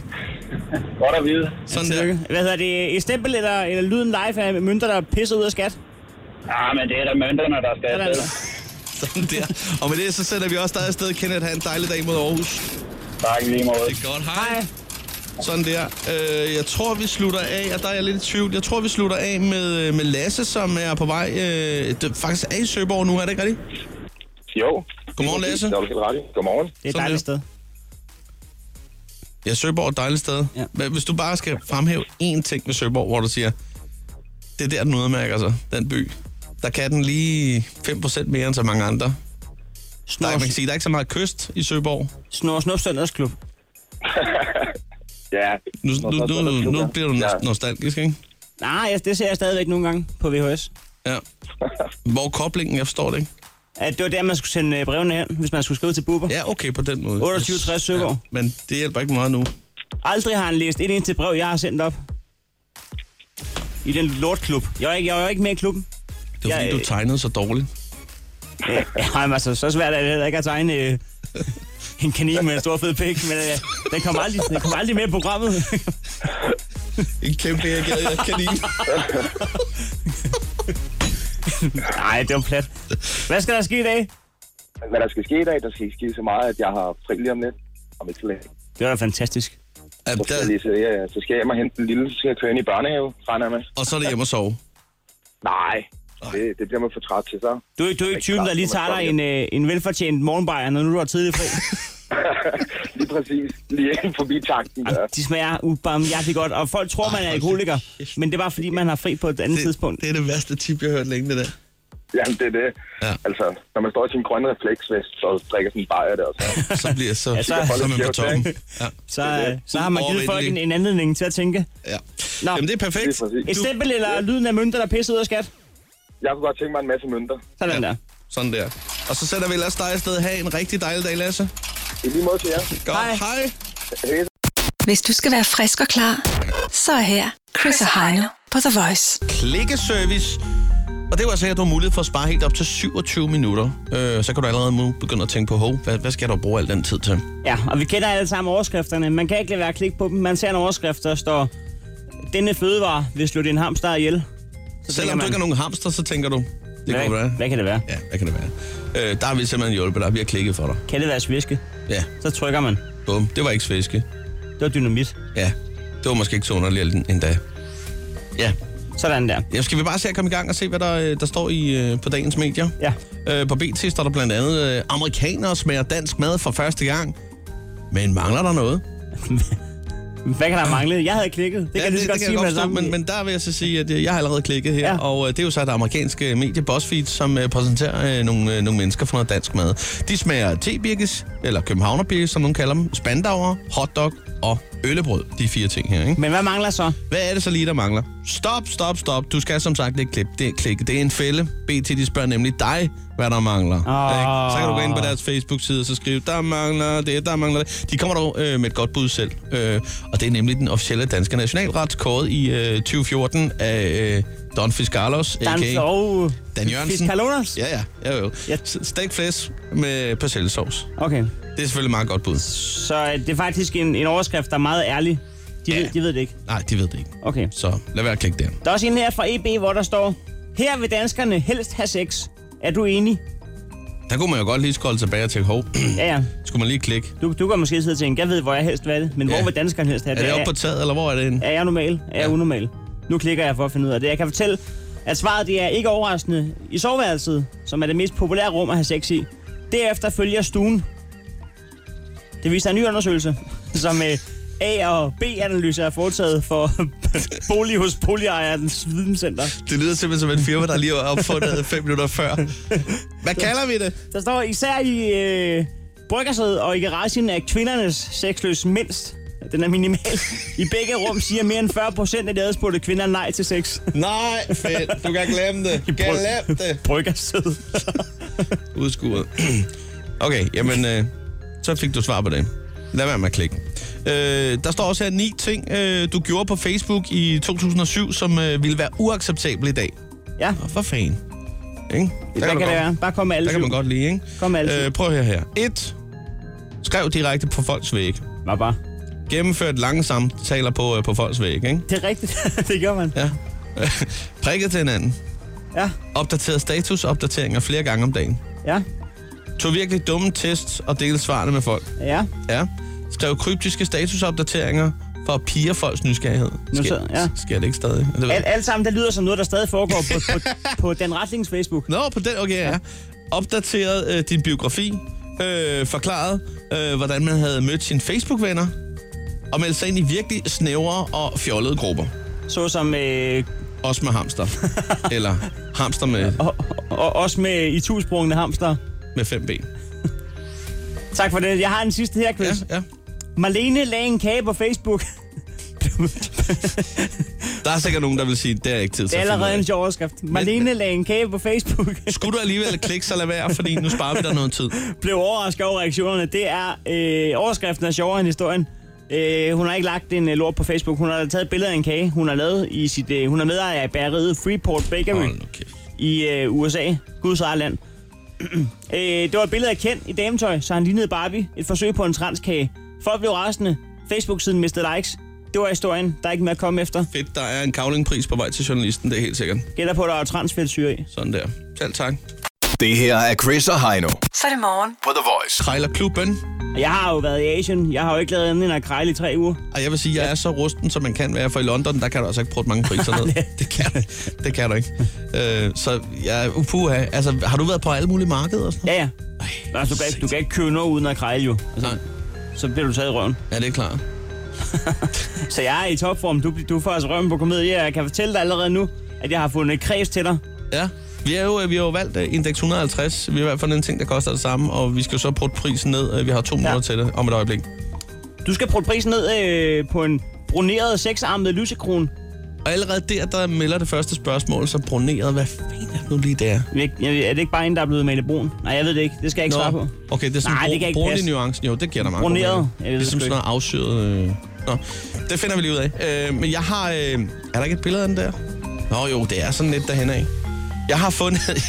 [SPEAKER 6] Godt at vide.
[SPEAKER 1] Sådan der.
[SPEAKER 2] Tillykke. Hvad hedder det? Et stempel eller, eller lyden live af mønter, der pisser ud af skat?
[SPEAKER 6] Ja, Ah, men det er da mønterne, der skal
[SPEAKER 2] Sådan.
[SPEAKER 6] afsted.
[SPEAKER 1] Sådan der. Og med det, så sender vi også dig afsted, Kenneth. Ha' en dejlig dag mod Aarhus.
[SPEAKER 6] Tak i lige måde.
[SPEAKER 1] Det er godt. Hej.
[SPEAKER 2] Hej.
[SPEAKER 1] Sådan der. Øh, jeg tror, vi slutter af, og der er jeg lidt i tvivl. Jeg tror, vi slutter af med, øh, med Lasse, som er på vej. Øh, det, faktisk er i Søborg nu, er det ikke rigtigt?
[SPEAKER 5] Jo.
[SPEAKER 1] Godmorgen, Lasse.
[SPEAKER 5] Det er du helt ret i. Godmorgen.
[SPEAKER 2] Det er et
[SPEAKER 1] Sådan
[SPEAKER 2] dejligt
[SPEAKER 1] der.
[SPEAKER 2] sted.
[SPEAKER 1] Ja, Søborg er et dejligt sted.
[SPEAKER 2] Ja.
[SPEAKER 1] Men hvis du bare skal fremhæve én ting med Søborg, hvor du siger, det er der, den udmærker sig, den by. Der kan den lige 5% mere end så mange andre. Der, er- man kan
[SPEAKER 2] Snor,
[SPEAKER 1] sige, der er ikke så meget kyst i Søborg.
[SPEAKER 2] snor, snor søndagsklub.
[SPEAKER 5] Ja.
[SPEAKER 1] Nu, nu, nu, nu, nu bliver du
[SPEAKER 5] ja.
[SPEAKER 1] nost- nostalgisk, ikke?
[SPEAKER 2] Nej, jeg- det ser jeg stadigvæk nogle gange på VHS.
[SPEAKER 1] Ja. Hvor er koblingen, jeg forstår det ikke.
[SPEAKER 2] At det var der, man skulle sende øh, brevene hen, hvis man skulle skrive til Bubber.
[SPEAKER 1] Ja, okay, på den måde.
[SPEAKER 2] 28-60 Søborg.
[SPEAKER 1] men det hjælper ikke meget nu.
[SPEAKER 2] Aldrig har han læst et eneste brev, jeg har sendt op. I den lortklub. Jeg er ikke, jeg er jo ikke med i klubben.
[SPEAKER 1] Det var
[SPEAKER 2] Ja,
[SPEAKER 1] fordi, du
[SPEAKER 2] øh.
[SPEAKER 1] tegnede så dårligt.
[SPEAKER 2] Øh, Jamen altså, så svært er det heller ikke at tegne øh, en kanin med en stor fed pik, men øh, den kommer aldrig, den kommer aldrig med i programmet.
[SPEAKER 1] En kæmpe æggade af kanin.
[SPEAKER 2] Nej, det var plat. Hvad skal der ske i dag?
[SPEAKER 5] Hvad der skal ske i dag, der skal ske så meget, at jeg har fri lige om lidt. Om ikke så længe.
[SPEAKER 2] Det var da fantastisk.
[SPEAKER 1] ja,
[SPEAKER 5] Så skal, jeg
[SPEAKER 1] der,
[SPEAKER 5] lige, så, ja, så skal jeg hjem og hente den lille, så skal jeg køre ind i børnehave, regner jeg med.
[SPEAKER 1] og så er det hjemme og sove.
[SPEAKER 5] Nej, det, det bliver man for træt til så.
[SPEAKER 2] Du, er- du er ikke typen, der lige tager dig en, øh, en velfortjent morgenbajer, når nu du har tidlig fri.
[SPEAKER 5] lige præcis, lige ind forbi takten. Ja.
[SPEAKER 2] De smager ubarmhjertelig godt, og folk tror, man er alkoholiker. Men det er bare, fordi man har fri på et andet tidspunkt.
[SPEAKER 1] Det, det er det værste tip, jeg har hørt længe, det der.
[SPEAKER 5] Jamen, det er det.
[SPEAKER 1] Ja.
[SPEAKER 5] Ja. Altså, når man står i sin grønne refleksvest og drikker sådan en bajer der, så
[SPEAKER 1] Så bliver så, ja,
[SPEAKER 2] så-
[SPEAKER 1] så, så er man på
[SPEAKER 5] Folk er
[SPEAKER 1] toppen. Ja,
[SPEAKER 2] Så, øh, så har man givet folk en, en anledning til at tænke.
[SPEAKER 1] ja.
[SPEAKER 2] Nå.
[SPEAKER 1] Jamen, det er
[SPEAKER 5] det
[SPEAKER 1] perfekt.
[SPEAKER 5] er præcis.
[SPEAKER 2] Et stempel eller lyden af mønter, der pisser ud af skat?
[SPEAKER 5] Jeg kunne godt tænke mig en masse mønter.
[SPEAKER 2] Sådan
[SPEAKER 1] Ja.
[SPEAKER 2] der.
[SPEAKER 1] Sådan der. Og så sætter vi ellers dig afsted. Ha' en rigtig dejlig dag, Lasse.
[SPEAKER 5] I lige måde til jer.
[SPEAKER 1] Godt.
[SPEAKER 2] Hej.
[SPEAKER 1] Hej.
[SPEAKER 4] Hvis du skal være frisk og klar, så er her Chris og Heino på The Voice.
[SPEAKER 1] klikkeservice. Og det var altså her, du har mulighed for at spare helt op til 27 minutter. Øh, så kan du allerede nu begynde at tænke på, hov, hvad, hvad skal jeg dog bruge al den tid til?
[SPEAKER 2] Ja, og vi kender alle sammen overskrifterne. Man kan ikke lade være at klikke på dem. Man ser en overskrift, der står, denne fødevare vil slå din hamster ihjel. Så
[SPEAKER 1] Selvom
[SPEAKER 2] tænker
[SPEAKER 1] du ikke har nogen hamster, så tænker du, det kan
[SPEAKER 2] hvad,
[SPEAKER 1] være.
[SPEAKER 2] hvad kan det være?
[SPEAKER 1] Ja, hvad kan det være? Øh, der har vi simpelthen hjulpet dig. Vi har klikket for dig.
[SPEAKER 2] Kan det være sviske?
[SPEAKER 1] Ja,
[SPEAKER 2] Så trykker man.
[SPEAKER 1] bum. Det var ikke svæske.
[SPEAKER 2] Det var dynamit.
[SPEAKER 1] Ja, det var måske ikke så underligt endda. Ja,
[SPEAKER 2] Sådan der.
[SPEAKER 1] ja skal vi bare se at komme i gang og se, hvad der, øh, der står i øh, på dagens medier?
[SPEAKER 2] Ja.
[SPEAKER 1] Øh, på BT står der blandt andet, øh, amerikanere smager dansk mad for første gang, men mangler der noget?
[SPEAKER 2] Hvad kan der mangle? Jeg havde klikket. Det kan jeg lige så godt sige altså, med det
[SPEAKER 1] forstå,
[SPEAKER 2] samme.
[SPEAKER 1] men, men der vil jeg så sige, at øh, jeg har allerede klikket her, ja.
[SPEAKER 2] Ja.
[SPEAKER 1] og øh, det er jo så et amerikansk øh, medie, BuzzFeed, som øh, præsenterer øh, nogle, øh, nogle mennesker for noget dansk mad. De smager tebirkes, eller københavnerbirkes, som nogen kalder dem, spandauer, hotdog og øllebrød, de fire ting her, ikke?
[SPEAKER 2] Men hvad mangler så?
[SPEAKER 1] Hvad er det så lige, der mangler? Stop, stop, stop. Du skal som sagt ikke klippe. Det, er- klikke. det er en fælde. BT, de spørger nemlig dig, hvad der mangler. Ikke? Så kan du gå ind på deres Facebook-side og så skrive, der mangler det, der mangler det. De kommer dog øh, med et godt bud selv. Øh, og det er nemlig den officielle danske nationalret, kåret i øh, 2014 af øh, Don Fiscalos,
[SPEAKER 2] Der er en
[SPEAKER 1] a.k.a.
[SPEAKER 2] flove...
[SPEAKER 1] Dan Jørgensen.
[SPEAKER 2] Fiskalonas?
[SPEAKER 1] Ja, ja. ja jo.
[SPEAKER 2] Ja.
[SPEAKER 1] S- Stegt flæs med persillesauce.
[SPEAKER 2] Okay.
[SPEAKER 1] Det er selvfølgelig et meget godt bud.
[SPEAKER 2] Så øh, det er faktisk en, en overskrift, der er meget ærlig. De,
[SPEAKER 1] Ja.
[SPEAKER 2] ja. ved, de ved det ikke.
[SPEAKER 1] Nej, de ved det ikke.
[SPEAKER 2] Okay.
[SPEAKER 1] Så lad være at klikke der.
[SPEAKER 2] Der er også en her fra EB, hvor der står, her vil danskerne helst have sex. Er du enig?
[SPEAKER 1] Der kunne man jo godt lige scrolle tilbage og tænke, hov,
[SPEAKER 2] Ja, ja.
[SPEAKER 1] skulle man lige klikke?
[SPEAKER 2] Du, du kan måske sidde og tænke, jeg ved, hvor jeg helst vil have det, men
[SPEAKER 1] Ja.
[SPEAKER 2] hvor vil danskerne helst have
[SPEAKER 1] Er
[SPEAKER 2] det?
[SPEAKER 1] det oppe på taget, eller hvor er det henne?
[SPEAKER 2] Er jeg normal? Er jeg
[SPEAKER 1] Ja.
[SPEAKER 2] unormal? Nu klikker jeg for at finde ud af det. Jeg kan fortælle, at svaret det er ikke overraskende. I soveværelset, som er det mest populære rum at have sex i, derefter følger stuen. Det viser en ny undersøgelse, som øh, A- og B-analyser er foretaget for bolig hos boligejernes videnscenter.
[SPEAKER 1] Det lyder simpelthen som en firma, der lige er opfundet fem minutter før. Hvad kalder vi det?
[SPEAKER 2] Der står især i øh, bryggersædet og i garagen er kvindernes sexløs mindst. Den er minimal. I begge rum siger mere end 40 procent af de adspurgte kvinder nej til sex.
[SPEAKER 1] Nej, fedt. Du kan glemme det. Glem det.
[SPEAKER 2] Bryggersædet.
[SPEAKER 1] Udskuret. Okay, jamen, øh, så fik du svar på det. Lad være med at klikke. Øh, der står også her ni ting, øh, du gjorde på Facebook i 2007, som øh, ville være uacceptable i dag.
[SPEAKER 2] Ja,
[SPEAKER 1] Og for fanden. Ikke? Der
[SPEAKER 2] hvad
[SPEAKER 1] du
[SPEAKER 2] kan det
[SPEAKER 1] godt-
[SPEAKER 2] være? Bare kom med alle
[SPEAKER 1] Der kan man
[SPEAKER 2] syv.
[SPEAKER 1] godt lide, ikke?
[SPEAKER 2] Kom med alle syv.
[SPEAKER 1] Øh, prøv her her. 1. Skrev direkte på folks væg.
[SPEAKER 2] Bare, bare.
[SPEAKER 1] Gennemført lange samtaler på, øh, på folks væg, ikke?
[SPEAKER 2] Det er rigtigt. det gør man.
[SPEAKER 1] Ja. Prikket til hinanden.
[SPEAKER 2] Ja,
[SPEAKER 1] Opdateret statusopdateringer flere gange om dagen.
[SPEAKER 2] ja,
[SPEAKER 1] Tog virkelig dumme tests og delte svarene med folk.
[SPEAKER 2] ja.
[SPEAKER 1] Ja. Skrev kryptiske statusopdateringer for at pige folks nysgerrighed.
[SPEAKER 2] Nu så- ja.
[SPEAKER 1] Sker det ikke stadig? Det ved jeg
[SPEAKER 2] Alt, alt sammen, det lyder som noget, der stadig foregår på, på, på Dan Ratlings Facebook.
[SPEAKER 1] Nå, på den, okay, ja. Opdateret øh, din biografi, øh, forklaret, øh, hvordan man havde mødt sine Facebook-venner, og meldt sig ind i virkelig snævre og fjollede grupper.
[SPEAKER 2] Så som øh,
[SPEAKER 1] Også med hamster. Eller hamster med,
[SPEAKER 2] og, og, også med i tusprungende hamster.
[SPEAKER 1] med fem ben.
[SPEAKER 2] Tak for det. Jeg har en sidste her,
[SPEAKER 1] Ja,
[SPEAKER 2] Chris. Ja.
[SPEAKER 1] ja.
[SPEAKER 2] Marlene lagde en kage på Facebook.
[SPEAKER 1] Der er sikkert nogen, der vil sige, det er ikke tid til
[SPEAKER 2] Det er
[SPEAKER 1] at finde ud
[SPEAKER 2] allerede
[SPEAKER 1] af.
[SPEAKER 2] en sjov overskrift. Marlene lagde en kage på Facebook.
[SPEAKER 1] Skulle du alligevel klikke, så lad være, fordi nu sparer vi dig noget tid.
[SPEAKER 2] Blev overrasket over reaktionerne. Det er øh, overskriften er sjovere end historien. Øh, hun har ikke lagt en øh, lort på Facebook. Hun har taget billeder af en kage, hun har lavet i sit... Øh, hun er medejer af bageriet Freeport Bakery.
[SPEAKER 1] Hold nu kæft.
[SPEAKER 2] i øh, USA, Guds eget land. øh, det var et billede af Ken i dametøj, så han lignede Barbie. Et forsøg på en transkage. Folk blev rasende. Facebook-siden mistede likes. Det var historien. Der er ikke mere at komme efter.
[SPEAKER 1] Fedt, der er en kavlingpris på vej til journalisten, det er helt sikkert.
[SPEAKER 2] Gætter på, at der er transfedtsyre i.
[SPEAKER 1] Sådan der. Selv tak.
[SPEAKER 3] Det her er Chris og Heino
[SPEAKER 4] Så er det morgen.
[SPEAKER 3] på The Voice.
[SPEAKER 1] Krejlerklubben.
[SPEAKER 2] Og jeg har jo været i Asien. Jeg har jo ikke lavet andet end at krejle i tre uger.
[SPEAKER 1] Og jeg vil sige, jeg er så rusten, som man kan være, for i London, der kan du altså ikke prutte mange priser ned. det, kan, det kan du ikke. Øh, så jeg, upuha, altså, har du været på alle mulige markeder og sådan
[SPEAKER 2] Ja, ja. Altså, du, kan ikke, du kan ikke købe noget uden at krejle jo.
[SPEAKER 1] noget? Nej,
[SPEAKER 2] Så bliver du taget i røven.
[SPEAKER 1] ja, det er klart.
[SPEAKER 2] Så jeg er i topform. Du, du får altså røven på komedie. Jeg kan fortælle dig allerede nu, at jeg har fundet et kreds til dig.
[SPEAKER 1] Ja. Vi har jo, vi har jo valgt øh, indeks 150. Vi har i hvert fald en ting, der koster det samme, og vi skal jo så prutte prisen ned. Øh, Vi har to minutter til det om et øjeblik.
[SPEAKER 2] Du skal prøve prisen ned øh, på en bruneret seksarmet lysekron.
[SPEAKER 1] Og allerede der, der melder det første spørgsmål, så broneret, hvad fanden er det nu lige der?
[SPEAKER 2] Jeg, jeg, er det ikke bare en, der er blevet malet brun? Nej, jeg ved det ikke. Det skal jeg ikke svare på.
[SPEAKER 1] okay, det er sådan
[SPEAKER 2] Nej, det kan
[SPEAKER 1] Nej,
[SPEAKER 2] ikke
[SPEAKER 1] brun,
[SPEAKER 2] passe.
[SPEAKER 1] nuancen. Jo, det giver der mange
[SPEAKER 2] Broneret.
[SPEAKER 1] Det
[SPEAKER 2] Jeg ved
[SPEAKER 1] er
[SPEAKER 2] det
[SPEAKER 1] ligesom
[SPEAKER 2] sgu
[SPEAKER 1] sådan noget afsyret... Øh. Nå, det finder vi lige ud af. Øh, men jeg har... Øh, er der ikke et billede af den der? Nå jo, det er sådan lidt derhen af. Jeg har fundet...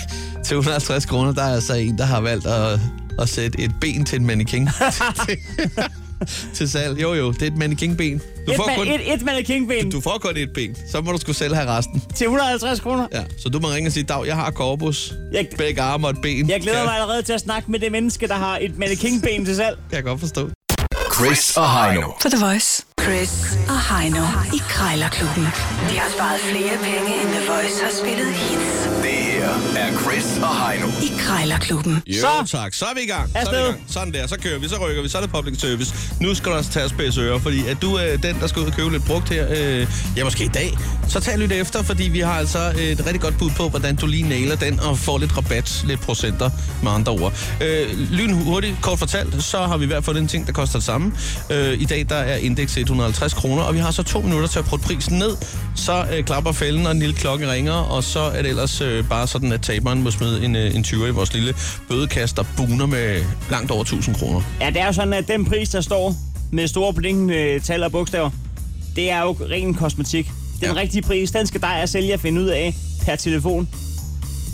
[SPEAKER 1] til 150 kroner, der er altså en, der har valgt at, at sætte et ben til en mannequin. til salg. Jo jo, det er et mannequinben. Du
[SPEAKER 2] Et,
[SPEAKER 1] får,
[SPEAKER 2] man,
[SPEAKER 1] kun,
[SPEAKER 2] et, et mannequinben
[SPEAKER 1] du får kun et ben. Så må du sgu selv have resten.
[SPEAKER 2] til 150 kroner.
[SPEAKER 1] Ja, så du må ringe og sige, Dag, jeg har korpus, jeg...
[SPEAKER 2] Jeg-
[SPEAKER 1] begge arme og et ben.
[SPEAKER 2] Jeg glæder
[SPEAKER 1] kan,
[SPEAKER 2] mig allerede til at snakke med det menneske, der har et mannequinben til salg.
[SPEAKER 1] Kan jeg godt forstå.
[SPEAKER 3] Chris og Heino.
[SPEAKER 4] På The Voice. Chris og Heino i Krejlerklubben. De har sparet flere penge, end The Voice har spillet hits
[SPEAKER 3] Det her er Chris og Heino.
[SPEAKER 4] i Krejlerklubben.
[SPEAKER 1] Jo,
[SPEAKER 2] Så.
[SPEAKER 1] så. tak. Så er vi i gang. Så er vi
[SPEAKER 2] Afsted.
[SPEAKER 1] i gang. Sådan der. Så kører vi, så rykker vi, så er det public service. Nu skal der også tages pæse ører, fordi at du er øh, den, der skal ud og købe lidt brugt her, øh, ja, måske i dag. Så tag lidt efter, fordi vi har altså et rigtig godt bud på, hvordan du lige nailer den og får lidt rabat, lidt procenter med andre ord. Øh, lyn hurtigt, kort fortalt, så har vi i hvert fald en ting, der koster det samme. Øh, I dag der er indeks 150 kroner, og vi har så to minutter til at prøve prisen ned. Så øh, klapper fælden, og en lille klokke ringer, og så er det ellers øh, bare sådan, at taberen må smide en, øh, en 20 i vores lille bødekasse, der buner med langt over 1000 kroner.
[SPEAKER 2] Ja, det er jo sådan, at den pris, der står med store blinkende tal og bogstaver, det er jo ren kosmetik. Den
[SPEAKER 1] Ja.
[SPEAKER 2] rigtige pris, den skal dig og sælger finde ud af per telefon.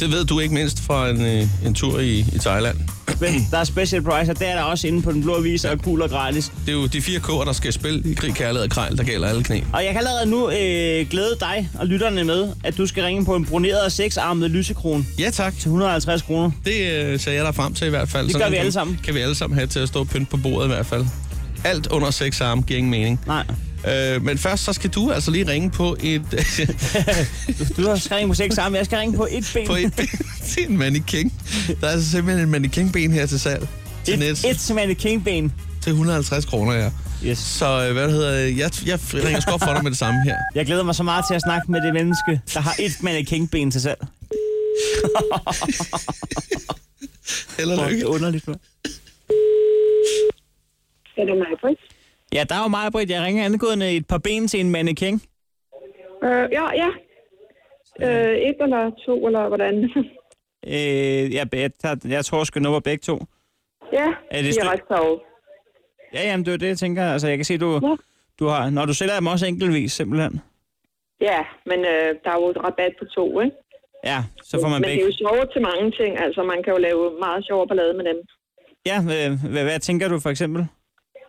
[SPEAKER 1] Det ved du ikke mindst fra en, øh, en tur i, i Thailand.
[SPEAKER 2] Men der er special price, og det er der også inde på den blå avis, og er cool og gratis.
[SPEAKER 1] Det er jo de fire k'er, der skal spille i krig, kærlighed og krejl, der gælder alle knæ.
[SPEAKER 2] Og jeg kan allerede nu øh, glæde dig og lytterne med, at du skal ringe på en bruneret og seksarmet lysekron
[SPEAKER 1] Ja tak.
[SPEAKER 2] til 150 kroner.
[SPEAKER 1] Det øh, ser jeg der frem til i hvert fald.
[SPEAKER 2] Det gør
[SPEAKER 1] Sådan
[SPEAKER 2] vi
[SPEAKER 1] kan-
[SPEAKER 2] alle sammen.
[SPEAKER 1] Kan vi alle sammen have til at stå og pynte på bordet i hvert fald. Alt under seks arme giver ingen mening.
[SPEAKER 2] Nej,
[SPEAKER 1] Øh, men først så skal du altså lige ringe på et,
[SPEAKER 2] du skal ringe på seksarmet, jeg skal ringe på et ben.
[SPEAKER 1] på et ben til en mannequin. Der er altså simpelthen en mannequinben her til salg. Til net.
[SPEAKER 2] et, et som er en kingben.
[SPEAKER 1] Til 150 kroner, ja.
[SPEAKER 2] Yes.
[SPEAKER 1] Så øh, hvad det hedder det? jeg, jeg ringer sgu op for dig med det samme her.
[SPEAKER 2] Jeg glæder mig så meget til at snakke med det menneske, der har et mannequin-ben til salg.
[SPEAKER 1] Eller
[SPEAKER 2] Det er
[SPEAKER 1] lykke.
[SPEAKER 2] underligt, man.
[SPEAKER 7] Er det mig, Britt?
[SPEAKER 2] Ja, der er jo mig, Britt. Jeg ringer angående et par ben til en mannequin.
[SPEAKER 7] Øh, ja, ja. Øh, et eller to, eller hvordan?
[SPEAKER 2] Øh, jeg, jeg, tager, jeg tror sgu nummer begge to.
[SPEAKER 7] ja,
[SPEAKER 2] Er det
[SPEAKER 7] de
[SPEAKER 2] stø-
[SPEAKER 7] er ret sjove.
[SPEAKER 2] Ja, jamen, det er det, jeg tænker. Altså, jeg kan se, du,
[SPEAKER 7] Ja.
[SPEAKER 2] du har... Når du sælger dem også enkeltvis, simpelthen.
[SPEAKER 7] Ja, men øh, der er jo et rabat på to, ikke?
[SPEAKER 2] Ja, så får man
[SPEAKER 7] men det er
[SPEAKER 2] begge.
[SPEAKER 7] jo sjovt til mange ting. Altså, man kan jo lave meget sjov ballade med dem.
[SPEAKER 2] Ja, øh, hvad, hvad tænker du for eksempel?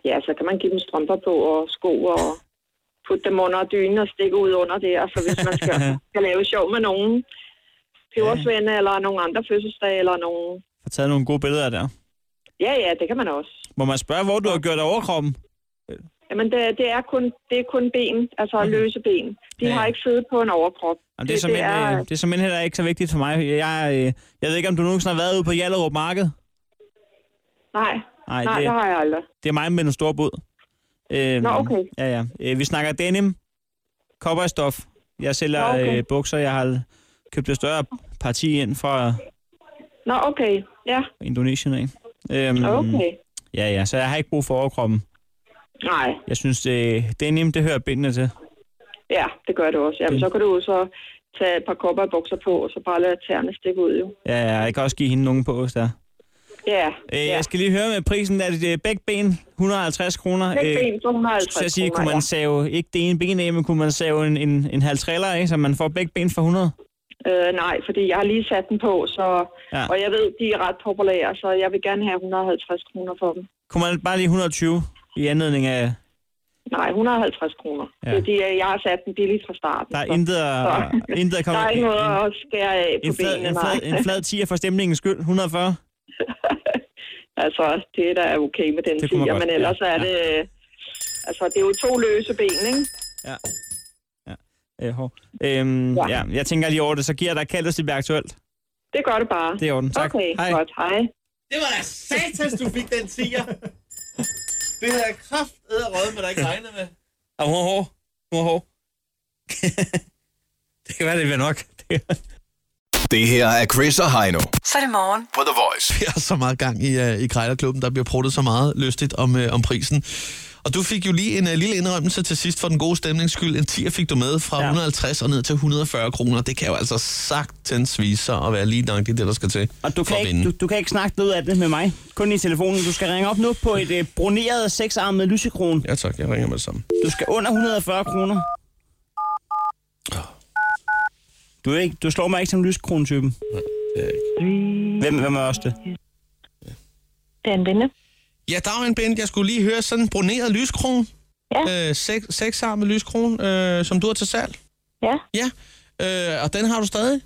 [SPEAKER 7] Ja, så Altså, kan man give dem strømper på og sko og putte dem under dynen og stikke ud under det. Altså, hvis man skal, skal lave sjov med nogen pebersvende ja. eller nogen andre fødselsdag eller nogen...
[SPEAKER 2] Få taget nogle gode billeder der.
[SPEAKER 7] Ja, ja, det kan man også.
[SPEAKER 2] Må man spørge, hvor du har gjort af overkroppen?
[SPEAKER 7] Jamen, det, det, er, kun, det er kun ben, altså løse ben. De
[SPEAKER 2] Mhm. Ja, ja.
[SPEAKER 7] har ikke siddet på en overkrop.
[SPEAKER 2] Jamen, det, er som det, er... Øh, det er simpelthen heller ikke så vigtigt for mig. Jeg, øh, jeg ved ikke, om du nogensinde har været ude på Hjallerup Marked.
[SPEAKER 7] Nej,
[SPEAKER 2] Nej,
[SPEAKER 7] nej,
[SPEAKER 2] det-
[SPEAKER 7] det... det har jeg aldrig.
[SPEAKER 2] Det er mig med den store båd. Øh,
[SPEAKER 7] Nå, okay.
[SPEAKER 2] Ja, ja. Øh, vi snakker denim, cowboystof. Jeg sælger
[SPEAKER 7] Nå, okay.
[SPEAKER 2] øh, bukser. Jeg har købt et større parti ind fra
[SPEAKER 7] Nå, okay. Ja,
[SPEAKER 2] Indonesien af. Øhm,
[SPEAKER 7] okay.
[SPEAKER 2] Ja, ja. Så jeg har ikke brug for overkroppen.
[SPEAKER 7] Nej,
[SPEAKER 2] Jeg synes, det, denim, det hører bindene til.
[SPEAKER 7] ja, det gør det også. Jamen, så kan du jo så tage et par kopper af bukser på, og så bare lade tæerne stikke ud, jo.
[SPEAKER 2] Ja, ja. Jeg kan også give hende nogen på, hvis der. er.
[SPEAKER 7] Ja,
[SPEAKER 2] Øh,
[SPEAKER 7] ja.
[SPEAKER 2] Jeg skal lige høre med prisen. Er det, det begge ben? 150 kroner? Øh,
[SPEAKER 7] Begge ben for 150
[SPEAKER 2] så jeg sige,
[SPEAKER 7] kroner,
[SPEAKER 2] kunne man save, ikke det ene ben af, men kunne man save en, en, en halv trailer af, så man får begge ben for 100?
[SPEAKER 7] Øh, nej, fordi jeg har lige sat den på, så,
[SPEAKER 2] Ja.
[SPEAKER 7] ja. og jeg ved, de er ret populære, så jeg vil gerne have 150 kroner for dem.
[SPEAKER 2] Kunne man bare lige 120 i anledning af,
[SPEAKER 7] Nej, 150 kroner.
[SPEAKER 2] Ja.
[SPEAKER 7] Ja. Fordi øh, jeg har sat den billigt fra starten.
[SPEAKER 2] Der er
[SPEAKER 7] så-
[SPEAKER 2] intet at,
[SPEAKER 7] så-
[SPEAKER 2] intet at komme...
[SPEAKER 7] der er ikke noget
[SPEAKER 2] en,
[SPEAKER 7] at skære af på
[SPEAKER 2] en, flad,
[SPEAKER 7] benene,
[SPEAKER 2] en,
[SPEAKER 7] nej.
[SPEAKER 2] flad, en flad 10 for stemningens skyld, 140.
[SPEAKER 7] altså, det der er okay med den
[SPEAKER 2] Det kunne man
[SPEAKER 7] tiger,
[SPEAKER 2] godt,
[SPEAKER 7] men ellers
[SPEAKER 2] ja.
[SPEAKER 7] er
[SPEAKER 2] Ja.
[SPEAKER 7] det... øh, Altså, det er jo to løse ben, ikke?
[SPEAKER 2] Øh, hov. øhm, ja.
[SPEAKER 7] Ja.
[SPEAKER 2] ja. jeg tænker lige over det, så giver jeg dig kaldet, hvis det bliver aktuelt.
[SPEAKER 7] Det gør det bare.
[SPEAKER 2] Det er i orden, tak.
[SPEAKER 7] Okay,
[SPEAKER 2] Hej.
[SPEAKER 7] godt. Hej.
[SPEAKER 8] Det var da satans, du fik den tiger. Det havde jeg kraft æderød med, der ikke regnet med.
[SPEAKER 2] Og hun er hård. Hun er hård. det kan være, det bliver nok.
[SPEAKER 3] Det her er Chris og Heino
[SPEAKER 4] Så er det morgen.
[SPEAKER 3] på The Voice.
[SPEAKER 8] Vi har så meget gang i,
[SPEAKER 1] øh,
[SPEAKER 8] uh, i Krejlerklubben, der bliver pruttet så meget lystigt om, uh, om prisen.
[SPEAKER 1] Og du fik jo lige en uh, lille indrømmelse til sidst for den gode stemnings skyld. En 10 fik du med fra
[SPEAKER 2] Ja.
[SPEAKER 1] ja. 150 og ned til 140 kroner. Det kan jo altså sagtens vise sig at være lige nok det, der skal til.
[SPEAKER 2] Og du
[SPEAKER 1] for
[SPEAKER 2] kan,
[SPEAKER 1] at
[SPEAKER 2] ikke,
[SPEAKER 1] vinde.
[SPEAKER 2] du, du kan ikke snakke noget af det med mig. Kun i telefonen. Du skal ringe op nu på et øh, broneret, seksarmet lysekron.
[SPEAKER 1] Ja tak, jeg ringer med det samme.
[SPEAKER 2] Du skal under 140 kroner. Du, er ikke, du slår mig ikke som lysekron-typen.
[SPEAKER 1] Det er ikke.
[SPEAKER 2] Hvem, hvem er også det?
[SPEAKER 7] Det er en vinde.
[SPEAKER 1] Ja, der er en band. Jeg skulle lige høre sådan en broneret lyskron. Ja. Øh, seks, seksarmet lyskron, øh, som du har til salg.
[SPEAKER 7] Ja,
[SPEAKER 1] Ja. Øh, og den har du stadig?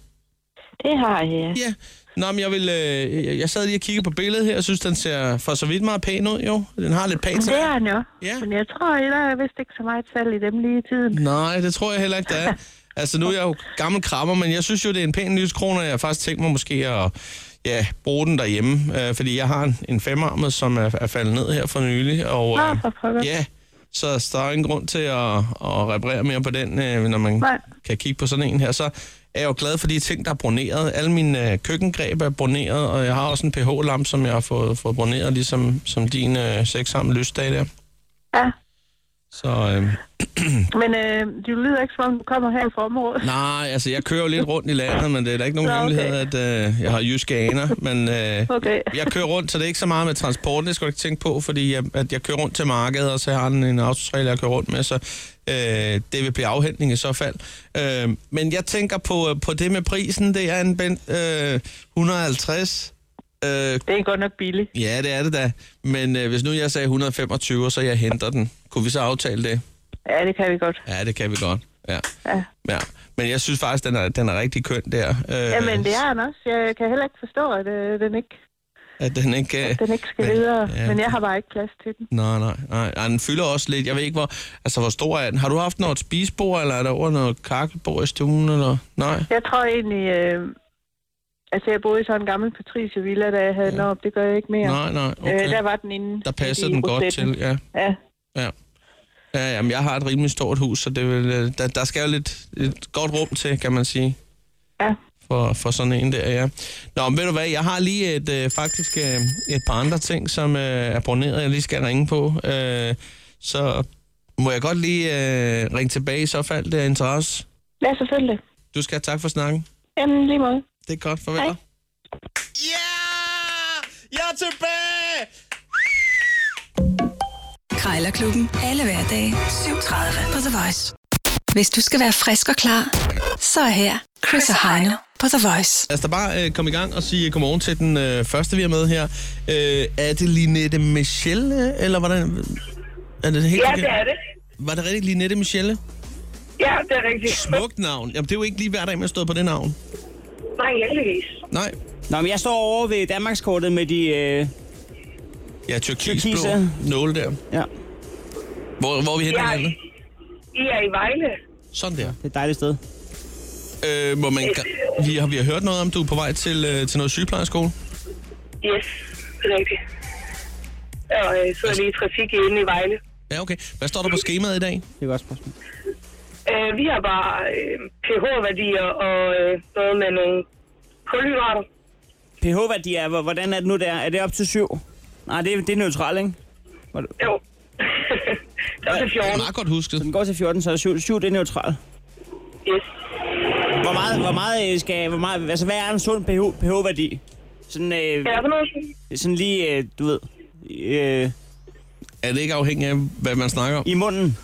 [SPEAKER 7] det har jeg.
[SPEAKER 1] Ja. Nå, men jeg, vil, øh, jeg- jeg sad lige og kiggede på billedet her, og synes, den ser for så vidt meget pæn ud, jo. Den har lidt patina.
[SPEAKER 9] er han jo.
[SPEAKER 1] Ja.
[SPEAKER 9] Men jeg tror heller, jeg vidste ikke så meget salg i dem lige i tiden.
[SPEAKER 1] Nej, det tror jeg heller ikke, der er. Altså, nu er jeg jo gammel krammer, men jeg synes jo, det er en pæn lyskrone, og jeg har faktisk tænkt mig måske at ja, bruge den derhjemme, øh, fordi jeg har en, en femarmet, som er, er faldet ned her for nylig, og
[SPEAKER 9] Nå,
[SPEAKER 1] øh,
[SPEAKER 9] for pokker.
[SPEAKER 1] ja, så så der er ingen grund til at, at reparere mere på den, øh, når man
[SPEAKER 9] Nej.
[SPEAKER 1] kan kigge på sådan en her. Så er jeg jo glad for de ting, der er broneret. Alle mine øh, køkkengreb er broneret, og jeg har også en pH-lampe, som jeg har fået, fået broneret, ligesom som din øh, sexarm lysdag der.
[SPEAKER 9] Ja.
[SPEAKER 1] Så øh,
[SPEAKER 9] Men øh, du lyder ikke, som om du kommer her fra området.
[SPEAKER 1] nej, altså jeg kører jo lidt rundt i landet, men det er da ikke nogen
[SPEAKER 9] Nå, okay.
[SPEAKER 1] hemmelighed, at øh, jeg har jyske aner, men... Øh,
[SPEAKER 9] Okay.
[SPEAKER 1] jeg kører rundt, så det er ikke så meget med transporten, det skal du ikke tænke på, fordi jeg, at jeg kører rundt til markedet, og så har den en autotrailer, jeg kører rundt med, så øh, det vil blive afhentning i så fald. Øh, men jeg tænker på, øh, på det med prisen, det er en ben, øh, 150. Øh,
[SPEAKER 9] Det er godt nok billigt.
[SPEAKER 1] ja, det er det da. Men øh, hvis nu jeg sagde 125, og så jeg henter den, kunne vi så aftale det?
[SPEAKER 9] Ja, det kan vi godt.
[SPEAKER 1] Ja, det kan vi godt. Ja.
[SPEAKER 9] Ja.
[SPEAKER 1] ja. Men jeg synes faktisk, den er, den er rigtig køn der. Øh,
[SPEAKER 9] Jamen, det er den også. Jeg kan heller ikke forstå, at øh, den ikke,
[SPEAKER 1] At den ikke... Øh,
[SPEAKER 9] den ikke skal
[SPEAKER 1] Men-
[SPEAKER 9] videre.
[SPEAKER 1] ja.
[SPEAKER 9] Men jeg har bare ikke plads til den.
[SPEAKER 1] Nej, nej, nej. Ej, Den fylder også lidt. Jeg ved ikke, hvor, altså, hvor stor er den. Har du haft noget spisebord, eller er der over noget kakkelbord i stuen? Eller? Nej.
[SPEAKER 9] Jeg tror egentlig... Øh, altså, jeg boede i sådan en gammel Patricia Villa, da jeg havde ja. den op. Det gør jeg ikke mere.
[SPEAKER 1] Nej, nej.
[SPEAKER 9] Okay.
[SPEAKER 1] Okay.
[SPEAKER 9] Øh, der var den inde.
[SPEAKER 1] der passer
[SPEAKER 9] i
[SPEAKER 1] den godt
[SPEAKER 9] rosetten.
[SPEAKER 1] til, ja.
[SPEAKER 9] Ja.
[SPEAKER 1] Ja, jamen, jeg har et rimelig stort hus, så det vil, øh, der, der skal jo lidt, et godt rum til, kan man sige.
[SPEAKER 9] Ja.
[SPEAKER 1] For, for sådan en der, ja. Nå, men ved du hvad, jeg har lige et, øh, faktisk øh, et par andre ting, som øh, er broneret, jeg lige skal ringe på. Øh, så må jeg godt lige øh, ringe tilbage i så fald, det er interesse.
[SPEAKER 9] ja, selvfølgelig.
[SPEAKER 1] Du skal have tak for snakken.
[SPEAKER 9] Jamen, lige måde.
[SPEAKER 1] Det er godt, farvel.
[SPEAKER 9] Hej.
[SPEAKER 1] Ja! Jeg er tilbage!
[SPEAKER 4] Krejlerklubben. Alle hverdage. 7.30 på The Voice. Hvis du skal være frisk og klar, så er her Chris og Heino på The Voice.
[SPEAKER 1] Lad os da bare øh, komme i gang og sige godmorgen til den øh, første, vi er med her. Øh, er det Linette Michelle, øh, eller hvordan? øh, Er det helt
[SPEAKER 6] Ja,
[SPEAKER 1] forkert?
[SPEAKER 6] det er det.
[SPEAKER 1] Var det rigtigt Linette Michelle?
[SPEAKER 6] Ja, det er rigtigt.
[SPEAKER 1] Smukt navn. Jamen, det er jo ikke lige hver dag, man står på det navn.
[SPEAKER 6] Nej, heldigvis.
[SPEAKER 1] Nej.
[SPEAKER 2] Nå, men jeg står over ved Danmarkskortet med de... Øh,
[SPEAKER 1] Ja, tyrkisblå
[SPEAKER 2] Tyrkise.
[SPEAKER 1] nåle der.
[SPEAKER 2] ja,
[SPEAKER 1] Hvor, hvor er vi henne?
[SPEAKER 6] Ja.
[SPEAKER 1] Hanne?
[SPEAKER 6] I er i Vejle.
[SPEAKER 1] Sådan der.
[SPEAKER 2] det er et dejligt sted.
[SPEAKER 1] Øh, må man, gra- vi, har vi har hørt noget om, du er på vej til, øh, til noget sygeplejeskole?
[SPEAKER 6] Yes, det er rigtigt. Og øh, så er vi i trafik inde i Vejle.
[SPEAKER 1] Ja, okay. Hvad står der på skemaet i dag?
[SPEAKER 2] Det er et godt spørgsmål.
[SPEAKER 6] Øh, vi har bare øh, pH-værdier og øh, noget med nogle kulhydrater.
[SPEAKER 2] pH-værdi er, hvor- hvordan er det nu der? Er det op til 7? Nej, det er, det er neutralt, ikke?
[SPEAKER 6] Jo. der er til
[SPEAKER 1] Det er
[SPEAKER 6] 14.
[SPEAKER 1] meget godt husket.
[SPEAKER 2] Den går til 14, så er 7, 7 det er neutralt.
[SPEAKER 6] Yes.
[SPEAKER 2] Hvor meget, hvor meget øh, skal, hvor meget, altså hvad er en sund pH, pH-værdi? Sådan, øh,
[SPEAKER 6] Hvad er det noget?
[SPEAKER 2] sådan lige, øh, du ved, øh,
[SPEAKER 1] Er det ikke afhængigt af, hvad man snakker om?
[SPEAKER 2] i munden.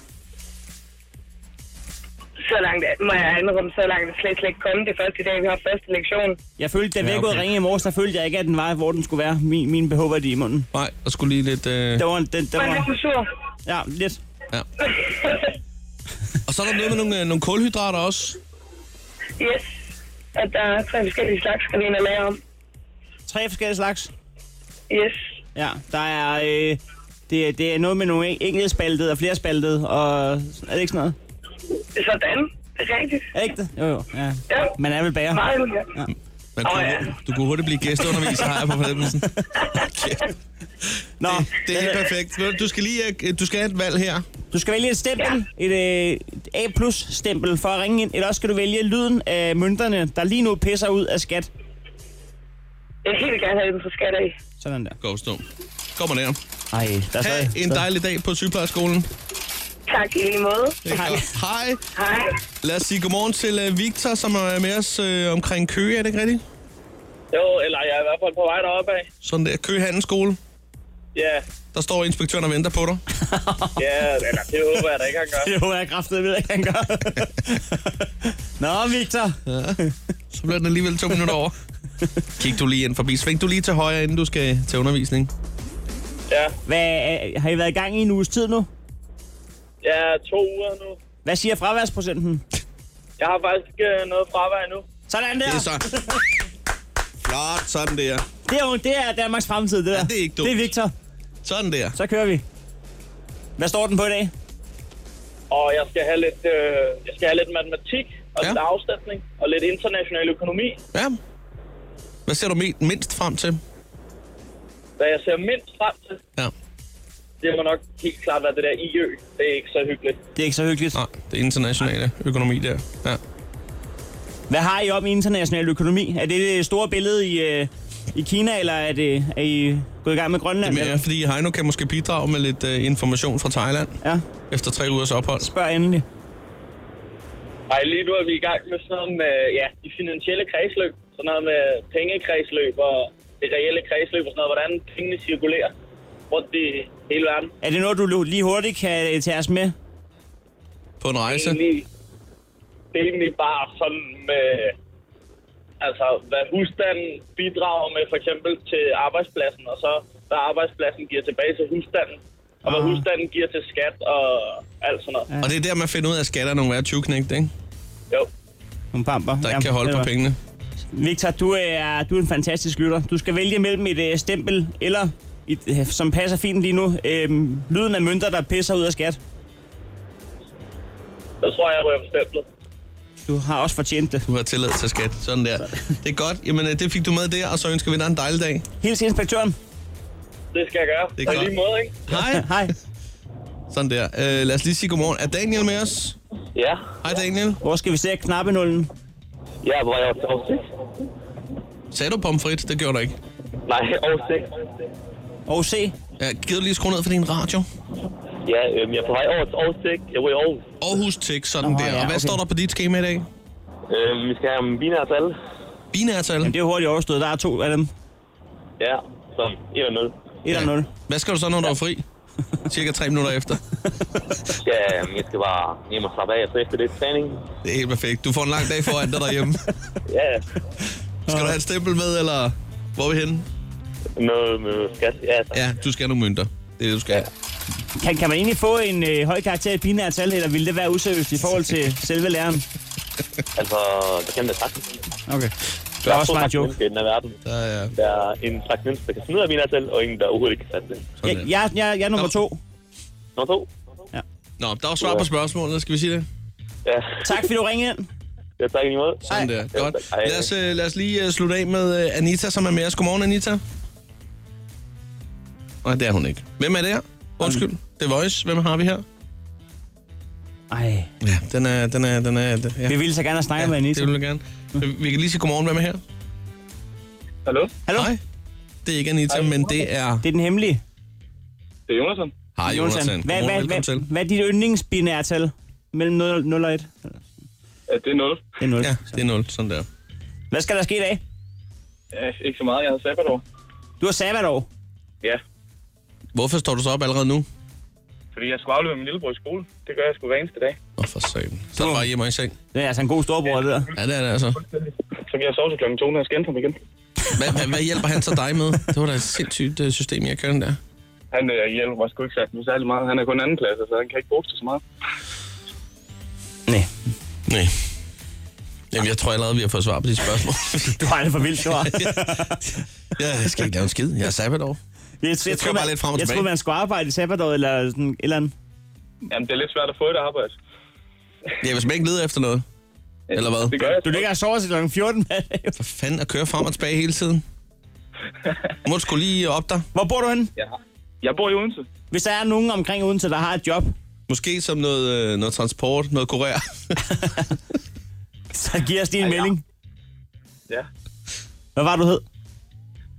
[SPEAKER 6] Så langt er- må jeg anrømme, så langt er det slet, slet ikke kommet. Det er første dag, vi har første lektion.
[SPEAKER 2] Jeg følte, da vi
[SPEAKER 1] Ja,
[SPEAKER 2] ja, okay.
[SPEAKER 1] okay.
[SPEAKER 2] ringe i morges, der følte jeg ikke, at den var, hvor den skulle være, min, min pH-værdi i munden.
[SPEAKER 1] Nej, der skulle lige lidt... Øh...
[SPEAKER 2] Der var, en- den, der
[SPEAKER 6] Men jeg
[SPEAKER 2] var,
[SPEAKER 6] er sur.
[SPEAKER 2] ja, lidt.
[SPEAKER 1] Og så er der noget med nogle, øh, nogle kulhydrater også.
[SPEAKER 6] Yes. At der er tre forskellige slags, skal vi ind og lære om.
[SPEAKER 2] Tre forskellige slags.
[SPEAKER 6] Yes.
[SPEAKER 2] Ja, der er, øh, det, er- det er noget med nogle en- enkeltspaltede og flerspaltede, og er det ikke sådan noget?
[SPEAKER 6] Sådan. Det er rigtigt.
[SPEAKER 2] Er det ikke det? Jo, jo, ja.
[SPEAKER 6] Ja.
[SPEAKER 2] Man er vel bager.
[SPEAKER 6] Meget.
[SPEAKER 1] Man kunne,
[SPEAKER 6] Åh, ja.
[SPEAKER 1] Du kunne hurtigt blive gæsteunderviser, har jeg på fornemmelsen. Okay.
[SPEAKER 2] Nå,
[SPEAKER 1] Det er helt perfekt. Ved du, Du skal lige øh, du skal have et valg her.
[SPEAKER 2] Du skal vælge et stempel, et, øh, et A-plus-stempel for at ringe ind, eller også skal du vælge lyden af mønterne, der lige nu pisser ud af skat.
[SPEAKER 6] Jeg vil helt gerne have den for skat af.
[SPEAKER 2] Sådan der.
[SPEAKER 1] Gå stå. Kommer der.
[SPEAKER 2] Ej, der er stadig...
[SPEAKER 1] Ha' en dejlig dag på sygeplejerskolen.
[SPEAKER 6] Tak i lige måde.
[SPEAKER 1] Det er
[SPEAKER 2] Hej.
[SPEAKER 1] godt. Hej.
[SPEAKER 6] Hej.
[SPEAKER 1] Lad os sige godmorgen til øh, Victor, som er med os øh, omkring Køge, er det ikke rigtigt?
[SPEAKER 8] Jo, eller jeg er i hvert fald på vej deroppe af.
[SPEAKER 1] Sådan der. Køge Handelsskole.
[SPEAKER 8] Ja,
[SPEAKER 1] Der står inspektøren og venter på dig.
[SPEAKER 8] ja, eller det håber jeg da ikke, han gør.
[SPEAKER 2] Det håber jeg kraftedet ved, at han gør. Nå, Victor.
[SPEAKER 1] Så bliver den alligevel to minutter over. Kig du lige ind forbi. Sving du lige til højre, inden du skal til undervisning.
[SPEAKER 8] Ja,
[SPEAKER 2] Hvad, øh, har I været i gang i en uges tid nu?
[SPEAKER 8] jeg er to uger nu.
[SPEAKER 2] Hvad siger fraværsprocenten?
[SPEAKER 8] Jeg har faktisk ikke øh, noget fravær endnu.
[SPEAKER 2] Sådan
[SPEAKER 1] Det
[SPEAKER 2] der.
[SPEAKER 1] er så... Flot, sådan der.
[SPEAKER 2] Det er, jo- det er Danmarks fremtid, det der. Ja,
[SPEAKER 1] det er ikke dumt.
[SPEAKER 2] Det er Victor.
[SPEAKER 1] Sådan der.
[SPEAKER 2] Så kører vi. Hvad står den på i dag?
[SPEAKER 8] Og jeg skal have lidt, øh, jeg skal have lidt matematik
[SPEAKER 10] og
[SPEAKER 1] Ja.
[SPEAKER 10] lidt afstemning, og lidt international økonomi.
[SPEAKER 1] Ja. Hvad ser du me- mindst frem til?
[SPEAKER 10] Hvad jeg ser mindst frem til,
[SPEAKER 1] Ja.
[SPEAKER 10] det må nok helt klart være det der IØ. Det er ikke så hyggeligt.
[SPEAKER 2] Det er ikke så hyggeligt.
[SPEAKER 1] Nej, det internationale økonomi der. Ja.
[SPEAKER 2] Hvad har I om i international økonomi? Er det det store billede i, øh, i Kina, eller er, det, er I gået i gang med Grønland?
[SPEAKER 1] Det er mere, fordi Heino kan måske bidrage med lidt øh, information fra Thailand.
[SPEAKER 2] Ja.
[SPEAKER 1] Efter tre ugers ophold.
[SPEAKER 2] Spørg endelig.
[SPEAKER 10] Ej, lige nu er vi i gang med sådan noget med ja, de finansielle kredsløb. Sådan noget med pengekredsløb og det reelle kredsløb og sådan noget. Hvordan pengene cirkulerer rundt i hele verden.
[SPEAKER 2] Er det noget, du lu- lige hurtigt kan øh, tage os med?
[SPEAKER 1] På en rejse?
[SPEAKER 10] Egentlig, det er egentlig bare sådan med... Altså, hvad husstanden bidrager med for eksempel til arbejdspladsen, og så hvad arbejdspladsen giver tilbage til husstanden. Og
[SPEAKER 1] Ah.
[SPEAKER 10] hvad husstanden giver til skat og alt sådan noget.
[SPEAKER 1] Og det er der, man finder ud af, at skatter er nogle værre tyvknægt, ikke?
[SPEAKER 10] Jo.
[SPEAKER 2] Nogle pamper.
[SPEAKER 1] Der ikke kan holde
[SPEAKER 2] det
[SPEAKER 1] på
[SPEAKER 2] var-
[SPEAKER 1] pengene.
[SPEAKER 2] Victor, du er, du er en fantastisk lytter. Du skal vælge mellem et øh, stempel, eller et, øh, som passer fint lige nu, øh, lyden af mønter, der pisser ud af skat.
[SPEAKER 10] Så tror jeg, jeg ryger på stemplet.
[SPEAKER 2] Du har også fortjent det.
[SPEAKER 1] Du har tillid til skat. Sådan der. Det er godt. Jamen, øh, det fik du med der, og så ønsker vi dig en dejlig dag.
[SPEAKER 2] Hils inspektøren.
[SPEAKER 10] Det skal jeg gøre.
[SPEAKER 1] Det er
[SPEAKER 10] På
[SPEAKER 1] klart.
[SPEAKER 10] lige måde, ikke?
[SPEAKER 1] Hej.
[SPEAKER 2] Hej.
[SPEAKER 1] Sådan der. Øh, lad os lige sige godmorgen. Er Daniel med os?
[SPEAKER 10] Ja.
[SPEAKER 1] Hej Daniel.
[SPEAKER 2] Hvor skal vi se knappenullen?
[SPEAKER 10] Jeg er på vej over til Aarhus 6.
[SPEAKER 1] Sagde du pomfrit? Det gjorde du ikke.
[SPEAKER 10] Nej, Aarhus 6.
[SPEAKER 2] Og se.
[SPEAKER 1] Ja, gider du lige skrue ned for din radio?
[SPEAKER 10] Ja, øhm, jeg er på vej over til Aarhus 6. Jeg ryger i Aarhus.
[SPEAKER 1] Aarhus Tech, sådan
[SPEAKER 2] Nå,
[SPEAKER 1] der.
[SPEAKER 2] ja,
[SPEAKER 1] og hvad
[SPEAKER 2] okay.
[SPEAKER 1] står der på dit skema i dag?
[SPEAKER 10] Øhm, vi skal have om viner og alle.
[SPEAKER 1] Binærtal.
[SPEAKER 2] Jamen, det er jo hurtigt overstået. Der er to af dem.
[SPEAKER 10] Ja, så 1 og 0.
[SPEAKER 2] 1 og 0.
[SPEAKER 1] Hvad skal du så, når du er fri? Cirka tre minutter efter.
[SPEAKER 10] Ja, jeg skal bare hjem og slappe af, og så efter det træning.
[SPEAKER 1] Det er helt perfekt. Du får en lang dag foran dig derhjemme.
[SPEAKER 10] Ja,
[SPEAKER 1] Skal du have et stempel med, eller hvor er vi henne?
[SPEAKER 10] noget med skat. Ja, tak.
[SPEAKER 1] Ja, du skal have nogle mønter. Det er det, du skal have.
[SPEAKER 2] Kan, kan man egentlig få en øh, høj karakter i binære tal, eller ville det være useriøst i forhold til selve læreren?
[SPEAKER 10] altså, det kan jeg sagtens.
[SPEAKER 2] Okay. Det var også bare en joke.
[SPEAKER 10] i den her verden.
[SPEAKER 1] Der er
[SPEAKER 10] Der er en slags menneske, der kan smide af viner selv, og ingen, der overhovedet ikke kan fatte det.
[SPEAKER 1] sådan
[SPEAKER 2] Jeg,
[SPEAKER 1] der.
[SPEAKER 2] jeg, jeg, jeg er nummer to.
[SPEAKER 10] Nummer to.
[SPEAKER 1] Nå, der var svar på spørgsmålet. Skal vi sige det?
[SPEAKER 10] Ja,
[SPEAKER 2] Tak, fordi du ringede ind.
[SPEAKER 10] jeg tager ikke imod.
[SPEAKER 1] Sådan der. Godt.
[SPEAKER 10] Ej.
[SPEAKER 1] Lad os, øh, lad os lige øh, slutte af med øh, Anita, som er med os. Godmorgen, Anita. Nej, det er hun ikke. Hvem er det her? Undskyld. Det er Voice. Hvem har vi her?
[SPEAKER 2] Ej,
[SPEAKER 1] Ja, den er... Den er, den er den- ja.
[SPEAKER 2] vi ville så gerne have snakket
[SPEAKER 1] ja,
[SPEAKER 2] med Anita.
[SPEAKER 1] Det vil jeg gerne. Vi kan lige sige godmorgen. Hvem er her?
[SPEAKER 5] Hallo?
[SPEAKER 2] Hallo?
[SPEAKER 1] Hej. Det er ikke Anita, men det er...
[SPEAKER 2] Det er den hemmelige.
[SPEAKER 5] Det er Jonathan.
[SPEAKER 1] Hej, Jonathan.
[SPEAKER 2] Jonathan. Hvad,
[SPEAKER 1] Godmorgen,
[SPEAKER 2] hvad,
[SPEAKER 1] velkommen
[SPEAKER 2] hvad,
[SPEAKER 1] til.
[SPEAKER 2] hvad er dit yndlingsbinære tal? Mellem 0, 0 og 1? Det
[SPEAKER 5] Ja, det er 0.
[SPEAKER 2] er 0.
[SPEAKER 1] Ja, det er 0. Sådan der.
[SPEAKER 2] Hvad skal der ske i dag?
[SPEAKER 5] Ja, ikke så meget. Jeg har sabbatår.
[SPEAKER 2] Du har sabbatår.
[SPEAKER 5] Ja,
[SPEAKER 1] Hvorfor står du så op allerede nu?
[SPEAKER 5] fordi jeg skulle aflevere min lillebror i skole. Det gør jeg sgu hver eneste dag.
[SPEAKER 1] Åh, for satan. Så er du bare hjemme og i seng.
[SPEAKER 2] Det er altså en god storbror, det der.
[SPEAKER 1] Ja, det er det altså.
[SPEAKER 5] Så kan jeg sove til klokken 2, når jeg skal hente ham igen.
[SPEAKER 1] Hvad, hvad, hvad hjælper han så dig med? Det var da et sindssygt øh, system, jeg kørte der.
[SPEAKER 5] Han øh, hjælper mig sgu ikke sat særlig meget. Han er kun anden klasse, så han kan ikke bruge det så meget.
[SPEAKER 2] Nej,
[SPEAKER 1] Nej. Jamen, jeg tror allerede, vi har fået svar på de spørgsmål.
[SPEAKER 2] du har det for vildt, du har.
[SPEAKER 1] ja, jeg skal ikke lave en skid. Jeg er sabbatår.
[SPEAKER 2] Jeg,
[SPEAKER 1] kører
[SPEAKER 2] troede,
[SPEAKER 1] bare
[SPEAKER 2] man-
[SPEAKER 1] lidt frem og
[SPEAKER 2] Jeg
[SPEAKER 1] tilbage.
[SPEAKER 2] troede, man skulle arbejde i sabbatår eller sådan et eller andet.
[SPEAKER 5] Jamen, det er lidt svært at få et arbejde.
[SPEAKER 1] Ja, hvis man ikke leder efter noget. Eller hvad?
[SPEAKER 5] Det gør jeg.
[SPEAKER 2] Du ligger og sover til kl. 14 hver dag.
[SPEAKER 1] For fanden at køre frem og tilbage hele tiden. Må du skulle lige op dig.
[SPEAKER 2] Hvor bor du henne?
[SPEAKER 5] Ja. Jeg bor i Odense.
[SPEAKER 2] Hvis der er nogen omkring Odense, der har et job,
[SPEAKER 1] Måske som noget, øh, noget transport, noget kurér.
[SPEAKER 2] så giv os lige en melding.
[SPEAKER 5] Ja.
[SPEAKER 2] Hvad var du hed?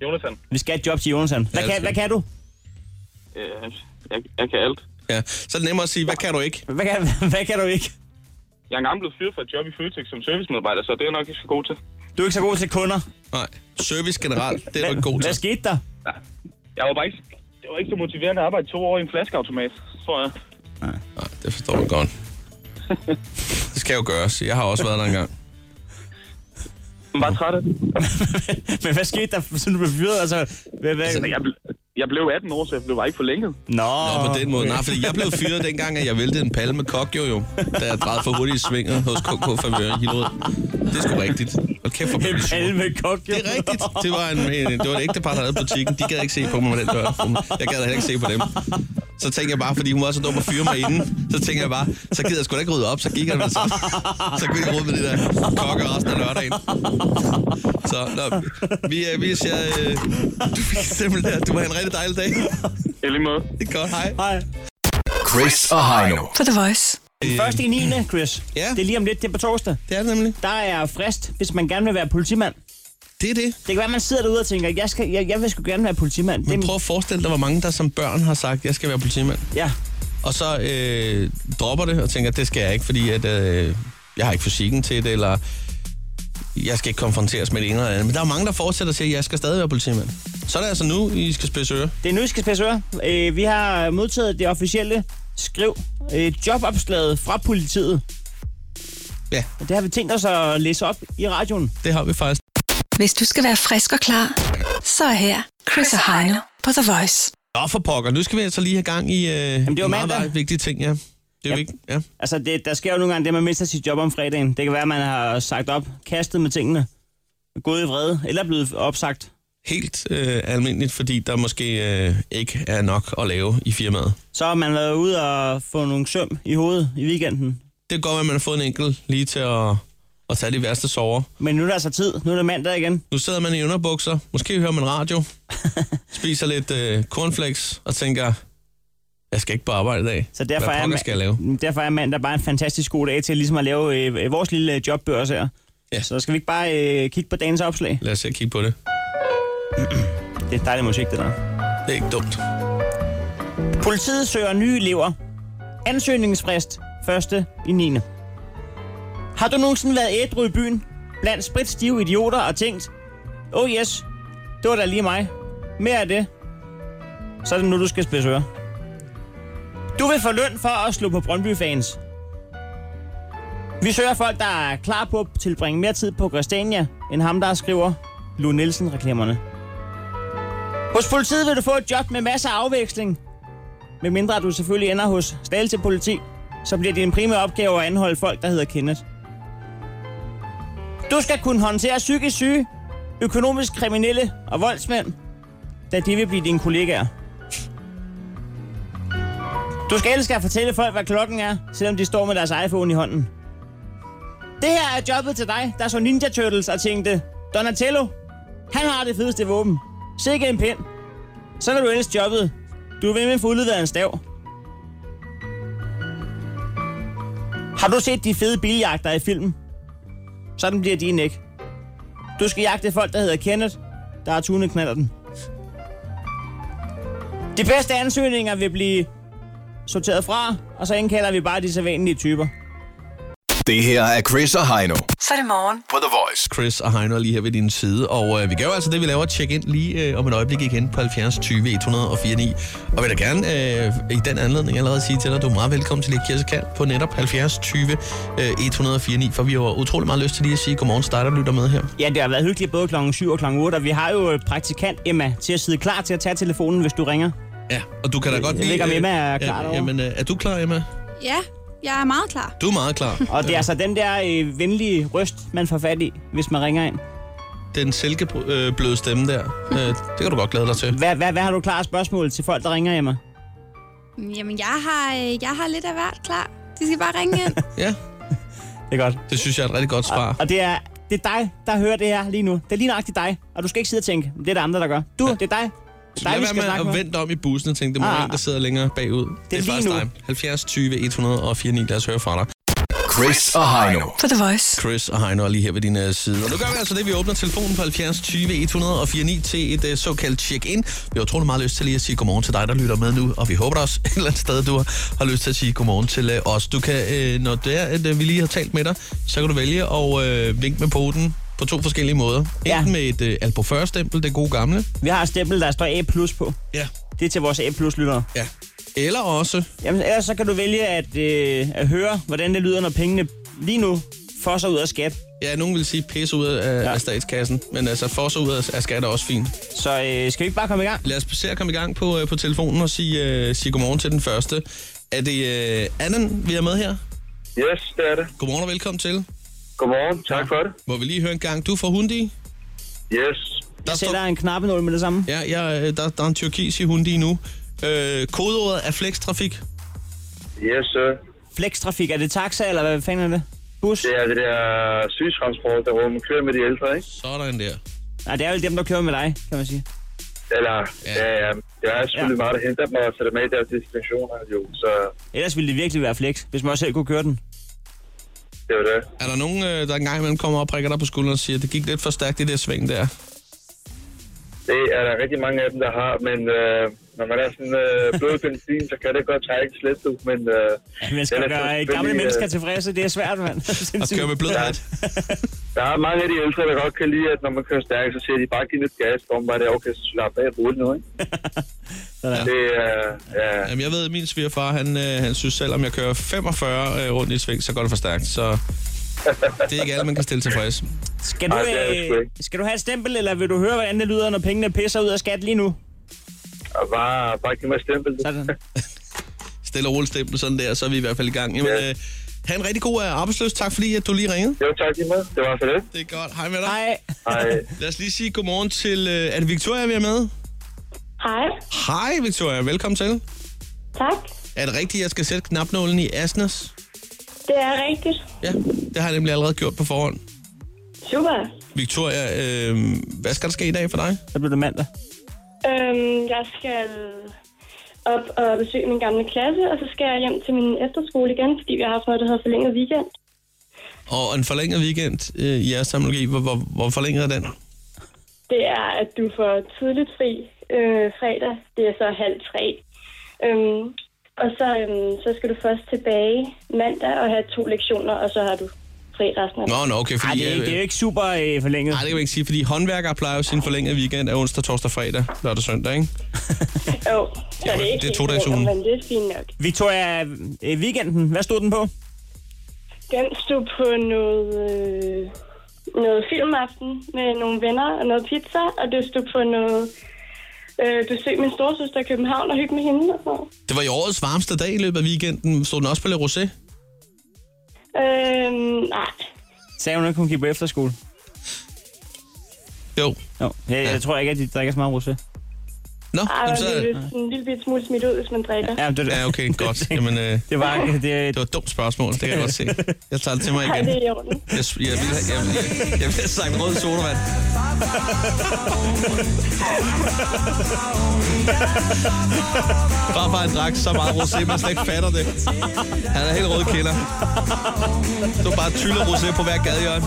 [SPEAKER 5] Jonathan.
[SPEAKER 2] Vi skal have et job til Jonathan. Hvad,
[SPEAKER 1] Ja, det
[SPEAKER 2] kan,
[SPEAKER 1] skal
[SPEAKER 2] hvad
[SPEAKER 1] vi.
[SPEAKER 2] kan du?
[SPEAKER 5] Øh, jeg, jeg kan alt.
[SPEAKER 1] ja. Så er det nemmere at sige, hvad kan du ikke?
[SPEAKER 2] Hvad kan, hvad kan du ikke?
[SPEAKER 5] Jeg er engang blevet fyret fra et job i Føtex som servicemedarbejder, så det er jeg nok ikke så god til.
[SPEAKER 2] Du er ikke så god til kunder.
[SPEAKER 1] Nej. Service generelt, det er du
[SPEAKER 2] Hvad,
[SPEAKER 1] ikke god
[SPEAKER 2] hvad
[SPEAKER 1] til.
[SPEAKER 2] skete der?
[SPEAKER 5] Jeg var bare ikke, det var ikke så motiverende at arbejde to år i en flaskeautomat, tror jeg.
[SPEAKER 1] Nej, det forstår jeg godt. Det skal jo gøres. Jeg har også været der engang.
[SPEAKER 5] Jeg var træt af det.
[SPEAKER 2] Men hvad skete der, siden du blev fyret? Altså, hvad, hvad?
[SPEAKER 5] Men Jeg, ble- jeg blev 18 år, så jeg blev bare ikke forlænget.
[SPEAKER 2] Nå,
[SPEAKER 1] Nå, på den måde. Nej, fordi jeg blev fyret dengang, at jeg væltede en palme kok, jo, jo. Da jeg drejede for hurtigt i svinget hos KK Favør i Hillerød. Det er sgu rigtigt. Og kæft for
[SPEAKER 2] En palme kok,
[SPEAKER 1] Det er rigtigt. Det var, en, en, det var et ægte par, der havde butikken. De gad ikke se på mig med den dør. Jeg gad heller ikke se på dem. Så tænker jeg bare, fordi hun var så dum at fyre mig inden, så tænker jeg bare, så gider jeg sgu da ikke rydde op, så gik jeg med så. Så kunne jeg rydde med det der kokke resten af lørdagen. Så, nå, vi, øh, vi siger, øh, du fik simpelthen, du må have en rigtig dejlig dag.
[SPEAKER 10] I lige måde.
[SPEAKER 1] Det er godt, hej.
[SPEAKER 2] Hej.
[SPEAKER 3] Chris og Heino.
[SPEAKER 4] På The Voice.
[SPEAKER 2] Den første i 9. Chris.
[SPEAKER 1] Øh. Ja.
[SPEAKER 2] Det er lige om lidt, det er på torsdag.
[SPEAKER 1] Det er det nemlig.
[SPEAKER 2] Der er frist, hvis man gerne vil være politimand.
[SPEAKER 1] Det er det.
[SPEAKER 2] Det kan være, man sidder derude og tænker, jeg, skal, jeg, jeg vil sgu gerne være politimand. Det er
[SPEAKER 1] Men
[SPEAKER 2] min-
[SPEAKER 1] prøv at forestille dig, hvor mange der som børn har sagt, jeg skal være politimand.
[SPEAKER 2] Ja,
[SPEAKER 1] Og så øh, dropper det og tænker, det skal jeg ikke, fordi at, øh, jeg har ikke fysikken til det, eller jeg skal ikke konfronteres med det ene eller andet. Men der er mange, der fortsætter og siger, at jeg skal stadig være politimand. Så er det altså nu, I skal spidse ører.
[SPEAKER 2] det er nu, I skal spidse ører. Øh, vi har modtaget det officielle skriv øh, jobopslaget fra politiet.
[SPEAKER 1] Ja.
[SPEAKER 2] Og det har vi tænkt os at læse op i radioen.
[SPEAKER 1] Det har vi faktisk.
[SPEAKER 4] Hvis du skal være frisk og klar, så er her Chris og Heino på The Voice.
[SPEAKER 1] Nå for pokker, nu skal vi altså lige have gang i øh, Jamen,
[SPEAKER 2] det
[SPEAKER 1] meget,
[SPEAKER 2] var mandag.
[SPEAKER 1] meget vigtige ting, ja. Det er jo vigtigt, ja.
[SPEAKER 2] Altså, det, der sker jo nogle gange det, at man mister sit job om fredagen. Det kan være, at man har sagt op, kastet med tingene, gået i vrede, eller er blevet opsagt.
[SPEAKER 1] Helt øh, almindeligt, fordi der måske øh, ikke er nok at lave i firmaet.
[SPEAKER 2] Så har man været ude og få nogle søm i hovedet i weekenden.
[SPEAKER 1] Det kan godt være, at man har fået en enkelt lige til at, at tage de værste sover.
[SPEAKER 2] Men nu er der altså tid. Nu er det mandag igen.
[SPEAKER 1] Nu sidder man i underbukser, måske hører man radio, spiser lidt øh, cornflakes og tænker, jeg skal ikke på arbejde i dag.
[SPEAKER 2] Så derfor
[SPEAKER 1] Hvad
[SPEAKER 2] er,
[SPEAKER 1] pokker skal jeg lave?
[SPEAKER 2] derfor er mandag bare en fantastisk god dag til ligesom at lave øh, vores lille jobbørs her.
[SPEAKER 1] Ja.
[SPEAKER 2] Så skal vi ikke bare øh, kigge på dagens opslag?
[SPEAKER 1] Lad os se at kigge på det.
[SPEAKER 2] Det er dejlig musik, det der.
[SPEAKER 1] Det er ikke dumt.
[SPEAKER 2] Politiet søger nye elever. Ansøgningsfrist 1. i 9. Har du nogensinde været ædru i byen? Blandt spritstive idioter og tænkt, oh yes, det var da lige mig. Mere af det. Så er det nu, du skal spidse ører. Du vil få løn for at slå på Brøndby-fans. Vi søger folk, der er klar på at tilbringe mere tid på Christiania, end ham, der skriver Lou Nielsen-reklamerne. Hos politiet vil du få et job med masser af afveksling, med mindre du selvfølgelig ender hos Slagelse Politi, så bliver din primære opgave at anholde folk, der hedder Kenneth. Du skal kunne håndtere psykisk syge, økonomisk kriminelle og voldsmænd, da de vil blive dine kollegaer. Du skal elske at fortælle folk, hvad klokken er, selvom de står med deres iPhone i hånden. Det her er jobbet til dig, der så Ninja Turtles og tænkte, Donatello, han har det fedeste våben. Sikke en pind. Så kan du elske jobbet, du er ved med at få udleveret en stav. Har du set de fede biljagter i filmen? Sådan bliver din ikke. Du skal jagte folk, der hedder Kenneth, der har tunet knaller den. De bedste ansøgninger vil blive sorteret fra, og så indkalder vi bare de sædvanlige typer.
[SPEAKER 3] Det her er Chris og Heino.
[SPEAKER 4] Så er det morgen.
[SPEAKER 3] På The Voice.
[SPEAKER 1] Chris og Heino er lige her ved din side, og øh, vi gør jo altså det, vi laver at tjekke ind lige øh, om et øjeblik igen på 70 20 104 9. Og vil da gerne øh, i den anledning allerede sige til dig, at du er meget velkommen til Kirse Kald på netop 70 20 øh, 104 9, for vi har jo utrolig meget lyst til lige at sige godmorgen til dig, der lytter med her.
[SPEAKER 2] Ja, det har været hyggeligt både klokken 7 og klokken 8, og vi har jo praktikant Emma til at sidde klar til at tage telefonen, hvis du ringer.
[SPEAKER 1] Ja, og du kan da godt
[SPEAKER 2] jeg ved ikke, om
[SPEAKER 1] øh,
[SPEAKER 2] Emma er klar
[SPEAKER 1] ja,
[SPEAKER 2] derovre.
[SPEAKER 1] Jamen, øh, er du klar, Emma?
[SPEAKER 11] Ja, jeg er meget klar.
[SPEAKER 1] Du er meget klar.
[SPEAKER 2] Og det er altså den der øh, venlige røst, man får fat i, hvis man ringer ind.
[SPEAKER 1] Den silkebløde stemme der, øh, det kan du godt glæde dig til.
[SPEAKER 2] Hvad, hvad, hvad har du klar af spørgsmål til folk, der ringer hjemme?
[SPEAKER 11] Jamen, jeg har, øh, jeg har lidt af hvert klar. De skal bare ringe ind.
[SPEAKER 1] Ja,
[SPEAKER 2] Det er godt.
[SPEAKER 1] det synes jeg er et rigtig godt svar.
[SPEAKER 2] Og det er, det er dig, der hører det her lige nu. Det er lige nøjagtigt dig. Og du skal ikke sidde og tænke, det er der andre, der gør. Du, det er dig. Det er dig, vi
[SPEAKER 1] Lad
[SPEAKER 2] skal
[SPEAKER 1] være
[SPEAKER 2] snakke
[SPEAKER 1] med at
[SPEAKER 2] med.
[SPEAKER 1] vente om i bussen og tænke, det må være
[SPEAKER 2] Ah.
[SPEAKER 1] en, der sidder længere bagud. Det er,
[SPEAKER 2] lige
[SPEAKER 1] faktisk
[SPEAKER 2] nu.
[SPEAKER 1] dig. 70 20 104 9, lad os høre fra dig.
[SPEAKER 3] Chris og Heino.
[SPEAKER 4] På The Voice.
[SPEAKER 1] Chris og Heino er lige her ved din øh, side. Og nu gør vi altså det, vi åbner telefonen på 70 20 104 9 til et øh, såkaldt check-in. Vi har utrolig meget lyst til lige at sige godmorgen til dig, der lytter med nu, og vi håber da også et eller andet sted, du har, har lyst til at sige godmorgen til øh, os. Du kan, øh, når det er, at øh, vi lige har talt med dig, så kan du vælge at øh, vinke med poten på to forskellige måder.
[SPEAKER 2] Ja.
[SPEAKER 1] Enten med et øh, Albo 40-stempel, det gode gamle.
[SPEAKER 2] Vi har et stempel, der står A+, på.
[SPEAKER 1] Ja.
[SPEAKER 2] Det er til vores A+-lyttere.
[SPEAKER 1] ja. Eller også
[SPEAKER 2] Jamen, ellers så kan du vælge at, øh, at høre, hvordan det lyder, når pengene lige nu fosser ud af skat.
[SPEAKER 1] Ja, nogen vil sige pisse ud af, ja. af statskassen, men altså fosse ud af, af skat er også fint.
[SPEAKER 2] Så øh, skal vi ikke bare komme i gang?
[SPEAKER 1] Lad os se at komme i gang på, øh, på telefonen og sige, øh, sige godmorgen til den første. Er det øh, Annan, vi er med her?
[SPEAKER 10] Yes, det er det.
[SPEAKER 1] Godmorgen og velkommen til.
[SPEAKER 10] Godmorgen. Tak for det.
[SPEAKER 1] Må vi lige høre en gang, du er fra Hundi?
[SPEAKER 10] Yes.
[SPEAKER 2] Jeg
[SPEAKER 1] står-
[SPEAKER 2] sætter en knappenål med det samme.
[SPEAKER 1] Ja, ja øh, der, der er en tyrkis i Hundi nu. Øh, kodeordet er flextrafik.
[SPEAKER 10] Yes, sir.
[SPEAKER 2] Flextrafik, er det taxa, eller hvad fanden er det? Bus?
[SPEAKER 10] Det er det der sygetransport, der rum kører med de ældre, ikke?
[SPEAKER 1] Sådan der.
[SPEAKER 2] Nej, det er jo dem, der kører med dig, kan man sige.
[SPEAKER 10] Eller, ja, ja, ja. Jeg er selvfølgelig ja. meget, der henter dem og tager dem med i deres destinationer, jo. Så
[SPEAKER 2] Ellers ville det virkelig være flex, hvis man også selv kunne køre den.
[SPEAKER 10] det var det.
[SPEAKER 1] Er der nogen, øh, der engang imellem kommer og prikker dig på skulderen og siger, det gik lidt for stærkt i det sving der?
[SPEAKER 10] Det er der rigtig mange af dem, der har, men øh, når man er sådan øh, blød benzin, så kan det godt trække slet ud, men... Øh,
[SPEAKER 2] Man
[SPEAKER 10] den
[SPEAKER 2] skal
[SPEAKER 10] er
[SPEAKER 2] gøre
[SPEAKER 10] selvfølgelig,
[SPEAKER 2] gamle
[SPEAKER 10] øh,
[SPEAKER 2] mennesker tilfredse, det er svært, mand.
[SPEAKER 1] Og kører med blød hat.
[SPEAKER 10] Der er mange af de ældre, der godt kan lide, at når man kører stærkt, så siger de bare, giv lidt gas, og bare det, er okay, så slap af og brug det nu, ikke?
[SPEAKER 2] Sådan.
[SPEAKER 10] Det er, ja,
[SPEAKER 1] Jamen, jeg ved, at min svigerfar, han, øh, han synes, selvom jeg kører 45 øh, rundt i et sving, så går det for stærkt. Så det er ikke alle, man kan stille tilfreds.
[SPEAKER 2] Skal du,
[SPEAKER 10] Ej, det er det sgu
[SPEAKER 2] øh, skal du have et stempel, eller vil du høre, hvordan det lyder, når pengene pisser ud af skat lige nu?
[SPEAKER 10] og bare, bare giv mig stempel.
[SPEAKER 2] Sådan.
[SPEAKER 1] Stille og roligt stempel sådan der, så er vi i hvert fald i gang. Jamen, øh, ha' en rigtig god øh, arbejdsløs. Tak fordi, at du lige ringede.
[SPEAKER 10] Jo, tak lige med. Det var for det.
[SPEAKER 1] Det er godt. Hej med dig.
[SPEAKER 2] Hej.
[SPEAKER 10] Hej.
[SPEAKER 1] Lad os lige sige godmorgen til... Øh, er det Victoria, vi er med?
[SPEAKER 12] Hej,
[SPEAKER 1] Hej, Victoria. Velkommen til.
[SPEAKER 12] tak.
[SPEAKER 1] Er det rigtigt, at jeg skal sætte knapnålen i Asnes?
[SPEAKER 12] Det er rigtigt.
[SPEAKER 1] Ja, det har jeg nemlig allerede gjort på forhånd.
[SPEAKER 12] Super.
[SPEAKER 1] Victoria, øh, hvad skal der ske i dag for dig?
[SPEAKER 2] Så bliver det mandag.
[SPEAKER 12] Øhm, jeg skal op og besøge min gamle klasse, og så skal jeg hjem til min efterskole igen, fordi jeg har fået det her forlænget weekend.
[SPEAKER 1] Og en forlænget weekend øh, i jeres samologi, hvor, hvor, hvor forlænget er den?
[SPEAKER 12] Det er, at du får tidligt fri øh, fredag. Det er så halv tre. Øhm, og så, øhm, så skal du først tilbage mandag og have to lektioner, og så har du fri resten af
[SPEAKER 1] Nå, nå, okay,
[SPEAKER 2] Ej,
[SPEAKER 1] fordi...
[SPEAKER 2] det, er, ikke- det er jo ikke super øh, forlænget.
[SPEAKER 1] Nej, det kan man ikke sige, fordi håndværkere plejer jo sin forlængede weekend af onsdag, torsdag, fredag, lørdag, søndag, ikke?
[SPEAKER 12] Jo, så det er ikke
[SPEAKER 1] det er
[SPEAKER 12] helt
[SPEAKER 1] to dages
[SPEAKER 12] forlænget,
[SPEAKER 1] ugen.
[SPEAKER 12] Men det er fint nok.
[SPEAKER 2] Victoria, øh, weekenden, hvad stod den på?
[SPEAKER 12] Den stod på noget, øh, noget filmaften med nogle venner og noget pizza, og det stod på noget øh, besøg min storsøster i København og hygge med hende. Og sådan.
[SPEAKER 1] Det var i årets varmeste dag i løbet af weekenden. Stod den også på Le Rosé?
[SPEAKER 12] Øh, nej,
[SPEAKER 2] Sagde hun ikke, hun gik på efterskole?
[SPEAKER 1] Jo.
[SPEAKER 2] Jo, jeg, jeg tror ikke, at de drikker så meget rosé.
[SPEAKER 1] Nå,
[SPEAKER 12] Ej,
[SPEAKER 1] jamen,
[SPEAKER 12] man
[SPEAKER 1] så...
[SPEAKER 12] bliver lidt- en lille bit smule smidt ud, hvis man drikker.
[SPEAKER 2] Ja, det,
[SPEAKER 1] Ja, okay, godt. Jamen, øh,
[SPEAKER 2] det var... Det,
[SPEAKER 1] det var et dumt spørgsmål, det kan jeg godt se. Jeg tager det til mig
[SPEAKER 12] Ej,
[SPEAKER 1] igen.
[SPEAKER 12] det er i orden.
[SPEAKER 1] Jeg, jeg, jeg, jeg, jeg, jeg, jeg vil have sagt rød sodavand. Farfar han drak så meget rosé, man slet ikke fatter det. Han er helt rød kender. Du bare tyller rosé på hver gadehjørne.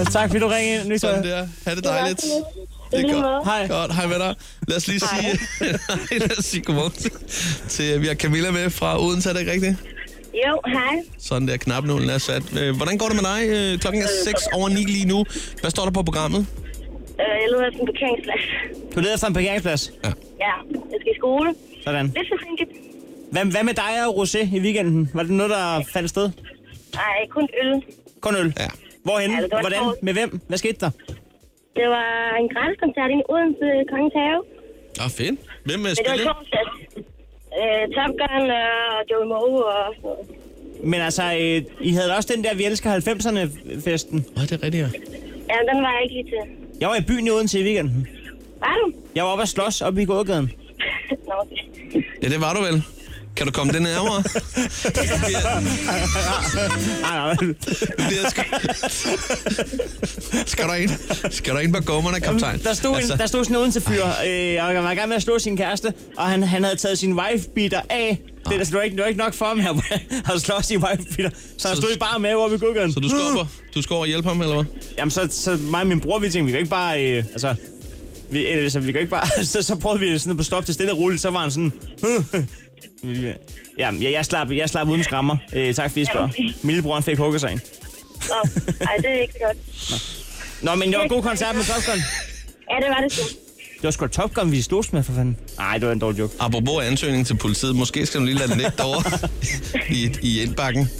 [SPEAKER 2] uh, tak, fordi du ringede ind, Victoria.
[SPEAKER 1] Sådan der. Ha' det dejligt.
[SPEAKER 12] I
[SPEAKER 1] Det er
[SPEAKER 12] lige
[SPEAKER 1] godt.
[SPEAKER 12] måde.
[SPEAKER 2] Hej.
[SPEAKER 1] Godt, hej med dig. Lad os lige sige, lad os sige godmorgen til, til, øh, vi har Camilla med fra Odense, er det ikke rigtigt?
[SPEAKER 13] Jo, hej.
[SPEAKER 1] Sådan der, knapnålen er sat. Øh, Hvordan går det med dig? Øh, Klokken er 6 over 9 lige nu. Hvad står der på programmet?
[SPEAKER 13] Øh, Jeg leder efter en parkeringsplads.
[SPEAKER 2] Du leder efter en parkeringsplads.
[SPEAKER 13] Ja, jeg skal i skole.
[SPEAKER 2] Sådan.
[SPEAKER 13] Lidt forsinket.
[SPEAKER 2] Hvad, hvad med dig og rosé i weekenden? Var det noget, der fandt sted?
[SPEAKER 13] Nej, kun øl.
[SPEAKER 2] Kun øl?
[SPEAKER 1] Ja.
[SPEAKER 2] Hvorhenne?
[SPEAKER 13] Ja, det var
[SPEAKER 2] Hvordan?
[SPEAKER 13] sjovt.
[SPEAKER 2] Med hvem? Hvad skete der?
[SPEAKER 13] Det var en grænskoncert inde i Odense Kongens Have.
[SPEAKER 1] Ah, fedt. Hvem
[SPEAKER 13] Men det
[SPEAKER 1] øh,
[SPEAKER 13] var
[SPEAKER 1] spiller?
[SPEAKER 13] torsdag. Øh, Top Gun øh, og Joey Moe og sådan noget.
[SPEAKER 2] Men altså, øh, I havde da også den der Vi elsker 90'erne-festen.
[SPEAKER 1] Åh, det er rigtigt, ja.
[SPEAKER 13] Ja, den var jeg ikke lige til.
[SPEAKER 2] Jeg var i byen i Odense i weekenden.
[SPEAKER 13] Var du?
[SPEAKER 2] Jeg var oppe at slås oppe i gågaden.
[SPEAKER 13] Nå,
[SPEAKER 1] Ja, det var du vel. Kan du komme den nærmere?
[SPEAKER 2] Nej, Ah, nej.
[SPEAKER 1] Det bliver sgu... skal, der ind, skal der ind på gummerne, kaptajn? Altså,
[SPEAKER 2] Der stod, en, der stod sådan en Odense-fyr, øh, og han var i gang med at slå sin kæreste, og han, han havde taget sin wife-beater af. Det,
[SPEAKER 1] Ah.
[SPEAKER 2] altså, det, var ikke, det var ikke nok for ham, at han slå sin wife-beater. Så han
[SPEAKER 1] Så-
[SPEAKER 2] stod i bare med oppe i gågaden.
[SPEAKER 1] Så du skal op og, du skal over og hjælpe ham, eller hvad?
[SPEAKER 2] Jamen, så, så mig og min bror, vi tænkte, vi kan ikke bare... Øh, altså, vi, øh, altså, vi kan ikke bare... Så, så prøvede vi sådan at stoppe til stille og roligt, så var han sådan... Jamen, jeg, jeg, slap, jeg slap uden skrammer. Øh, tak fordi I spørger. Min lillebror, han fik hugget sig ind.
[SPEAKER 13] Nå, ej, det er ikke så godt.
[SPEAKER 2] Nå, men det var en god koncert med Top Gun.
[SPEAKER 13] Ja, det var det sgu.
[SPEAKER 2] Det var sgu da Top Gun, vi slogs med, for fanden. Nej, det var en dårlig joke.
[SPEAKER 1] Apropos ansøgning til politiet, måske skal du lige lade den ligge derovre i, i indbakken.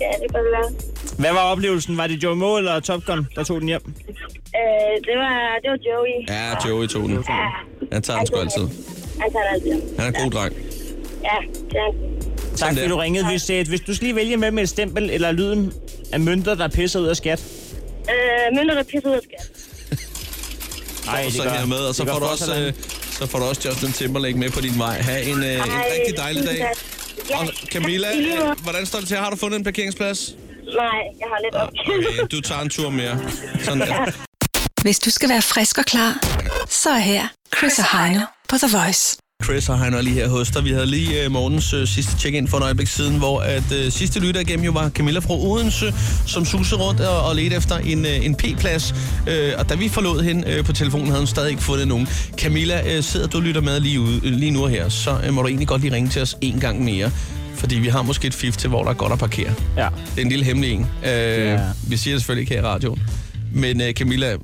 [SPEAKER 13] Ja, det kan det være.
[SPEAKER 2] Hvad var oplevelsen? Var det Joe Moe eller Top Gun, der tog den hjem?
[SPEAKER 13] Øh, det var, det var Joey.
[SPEAKER 1] Ja, Joey tog den.
[SPEAKER 13] Ja,
[SPEAKER 1] Han tager den sgu altid.
[SPEAKER 13] han tager det altid.
[SPEAKER 1] Han er en god dreng.
[SPEAKER 13] Ja, det er han.
[SPEAKER 2] Tak fordi du ringede. Hvis, øh, hvis du skal lige vælge med med et stempel eller lyden af mønter, der pisser ud af skat.
[SPEAKER 13] Øh, mønter, der pisser ud af skat.
[SPEAKER 1] Ej, det så her med, og så får, du også, øh, så får du også Justin Timberlake med på din vej. Ha' en, øh, en
[SPEAKER 13] Ej,
[SPEAKER 1] rigtig dejlig dag.
[SPEAKER 13] Ja,
[SPEAKER 1] Og Camilla,
[SPEAKER 13] i lige måde.
[SPEAKER 1] øh, hvordan står det til? Har du fundet en parkeringsplads?
[SPEAKER 13] Nej, jeg har lidt opgivet.
[SPEAKER 1] Okay, du tager en tur mere. Sådan der.
[SPEAKER 4] Hvis du skal være frisk og klar, så er her Chris og Heino på The Voice.
[SPEAKER 1] Chris og Heiner lige her hos dig. Vi havde lige øh, morgens øh, sidste check-in for et øjeblik siden, hvor at øh, sidste lytter igennem jo var Camilla fra Odense, som susede rundt og, og ledte efter en, øh, en P-plads. Øh, og da vi forlod hende øh, på telefonen, havde hun stadig ikke fundet nogen. Camilla, øh, sidder du og lytter med lige, ude, øh, lige nu og her, så øh, må du egentlig godt lige ringe til os en gang mere. Fordi vi har måske et fif til, hvor der er godt at parkere.
[SPEAKER 2] Ja.
[SPEAKER 1] Det er en lille hemmelig en. Øh, ja. Vi siger det selvfølgelig ikke her i radioen. Men øh, Camilla,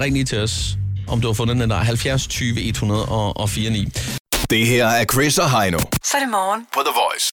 [SPEAKER 1] ring lige til os, om du har fundet den der 70 20 100 og, og 49.
[SPEAKER 3] Det her er Chris og Heino.
[SPEAKER 4] Så er det morgen.
[SPEAKER 3] På The Voice.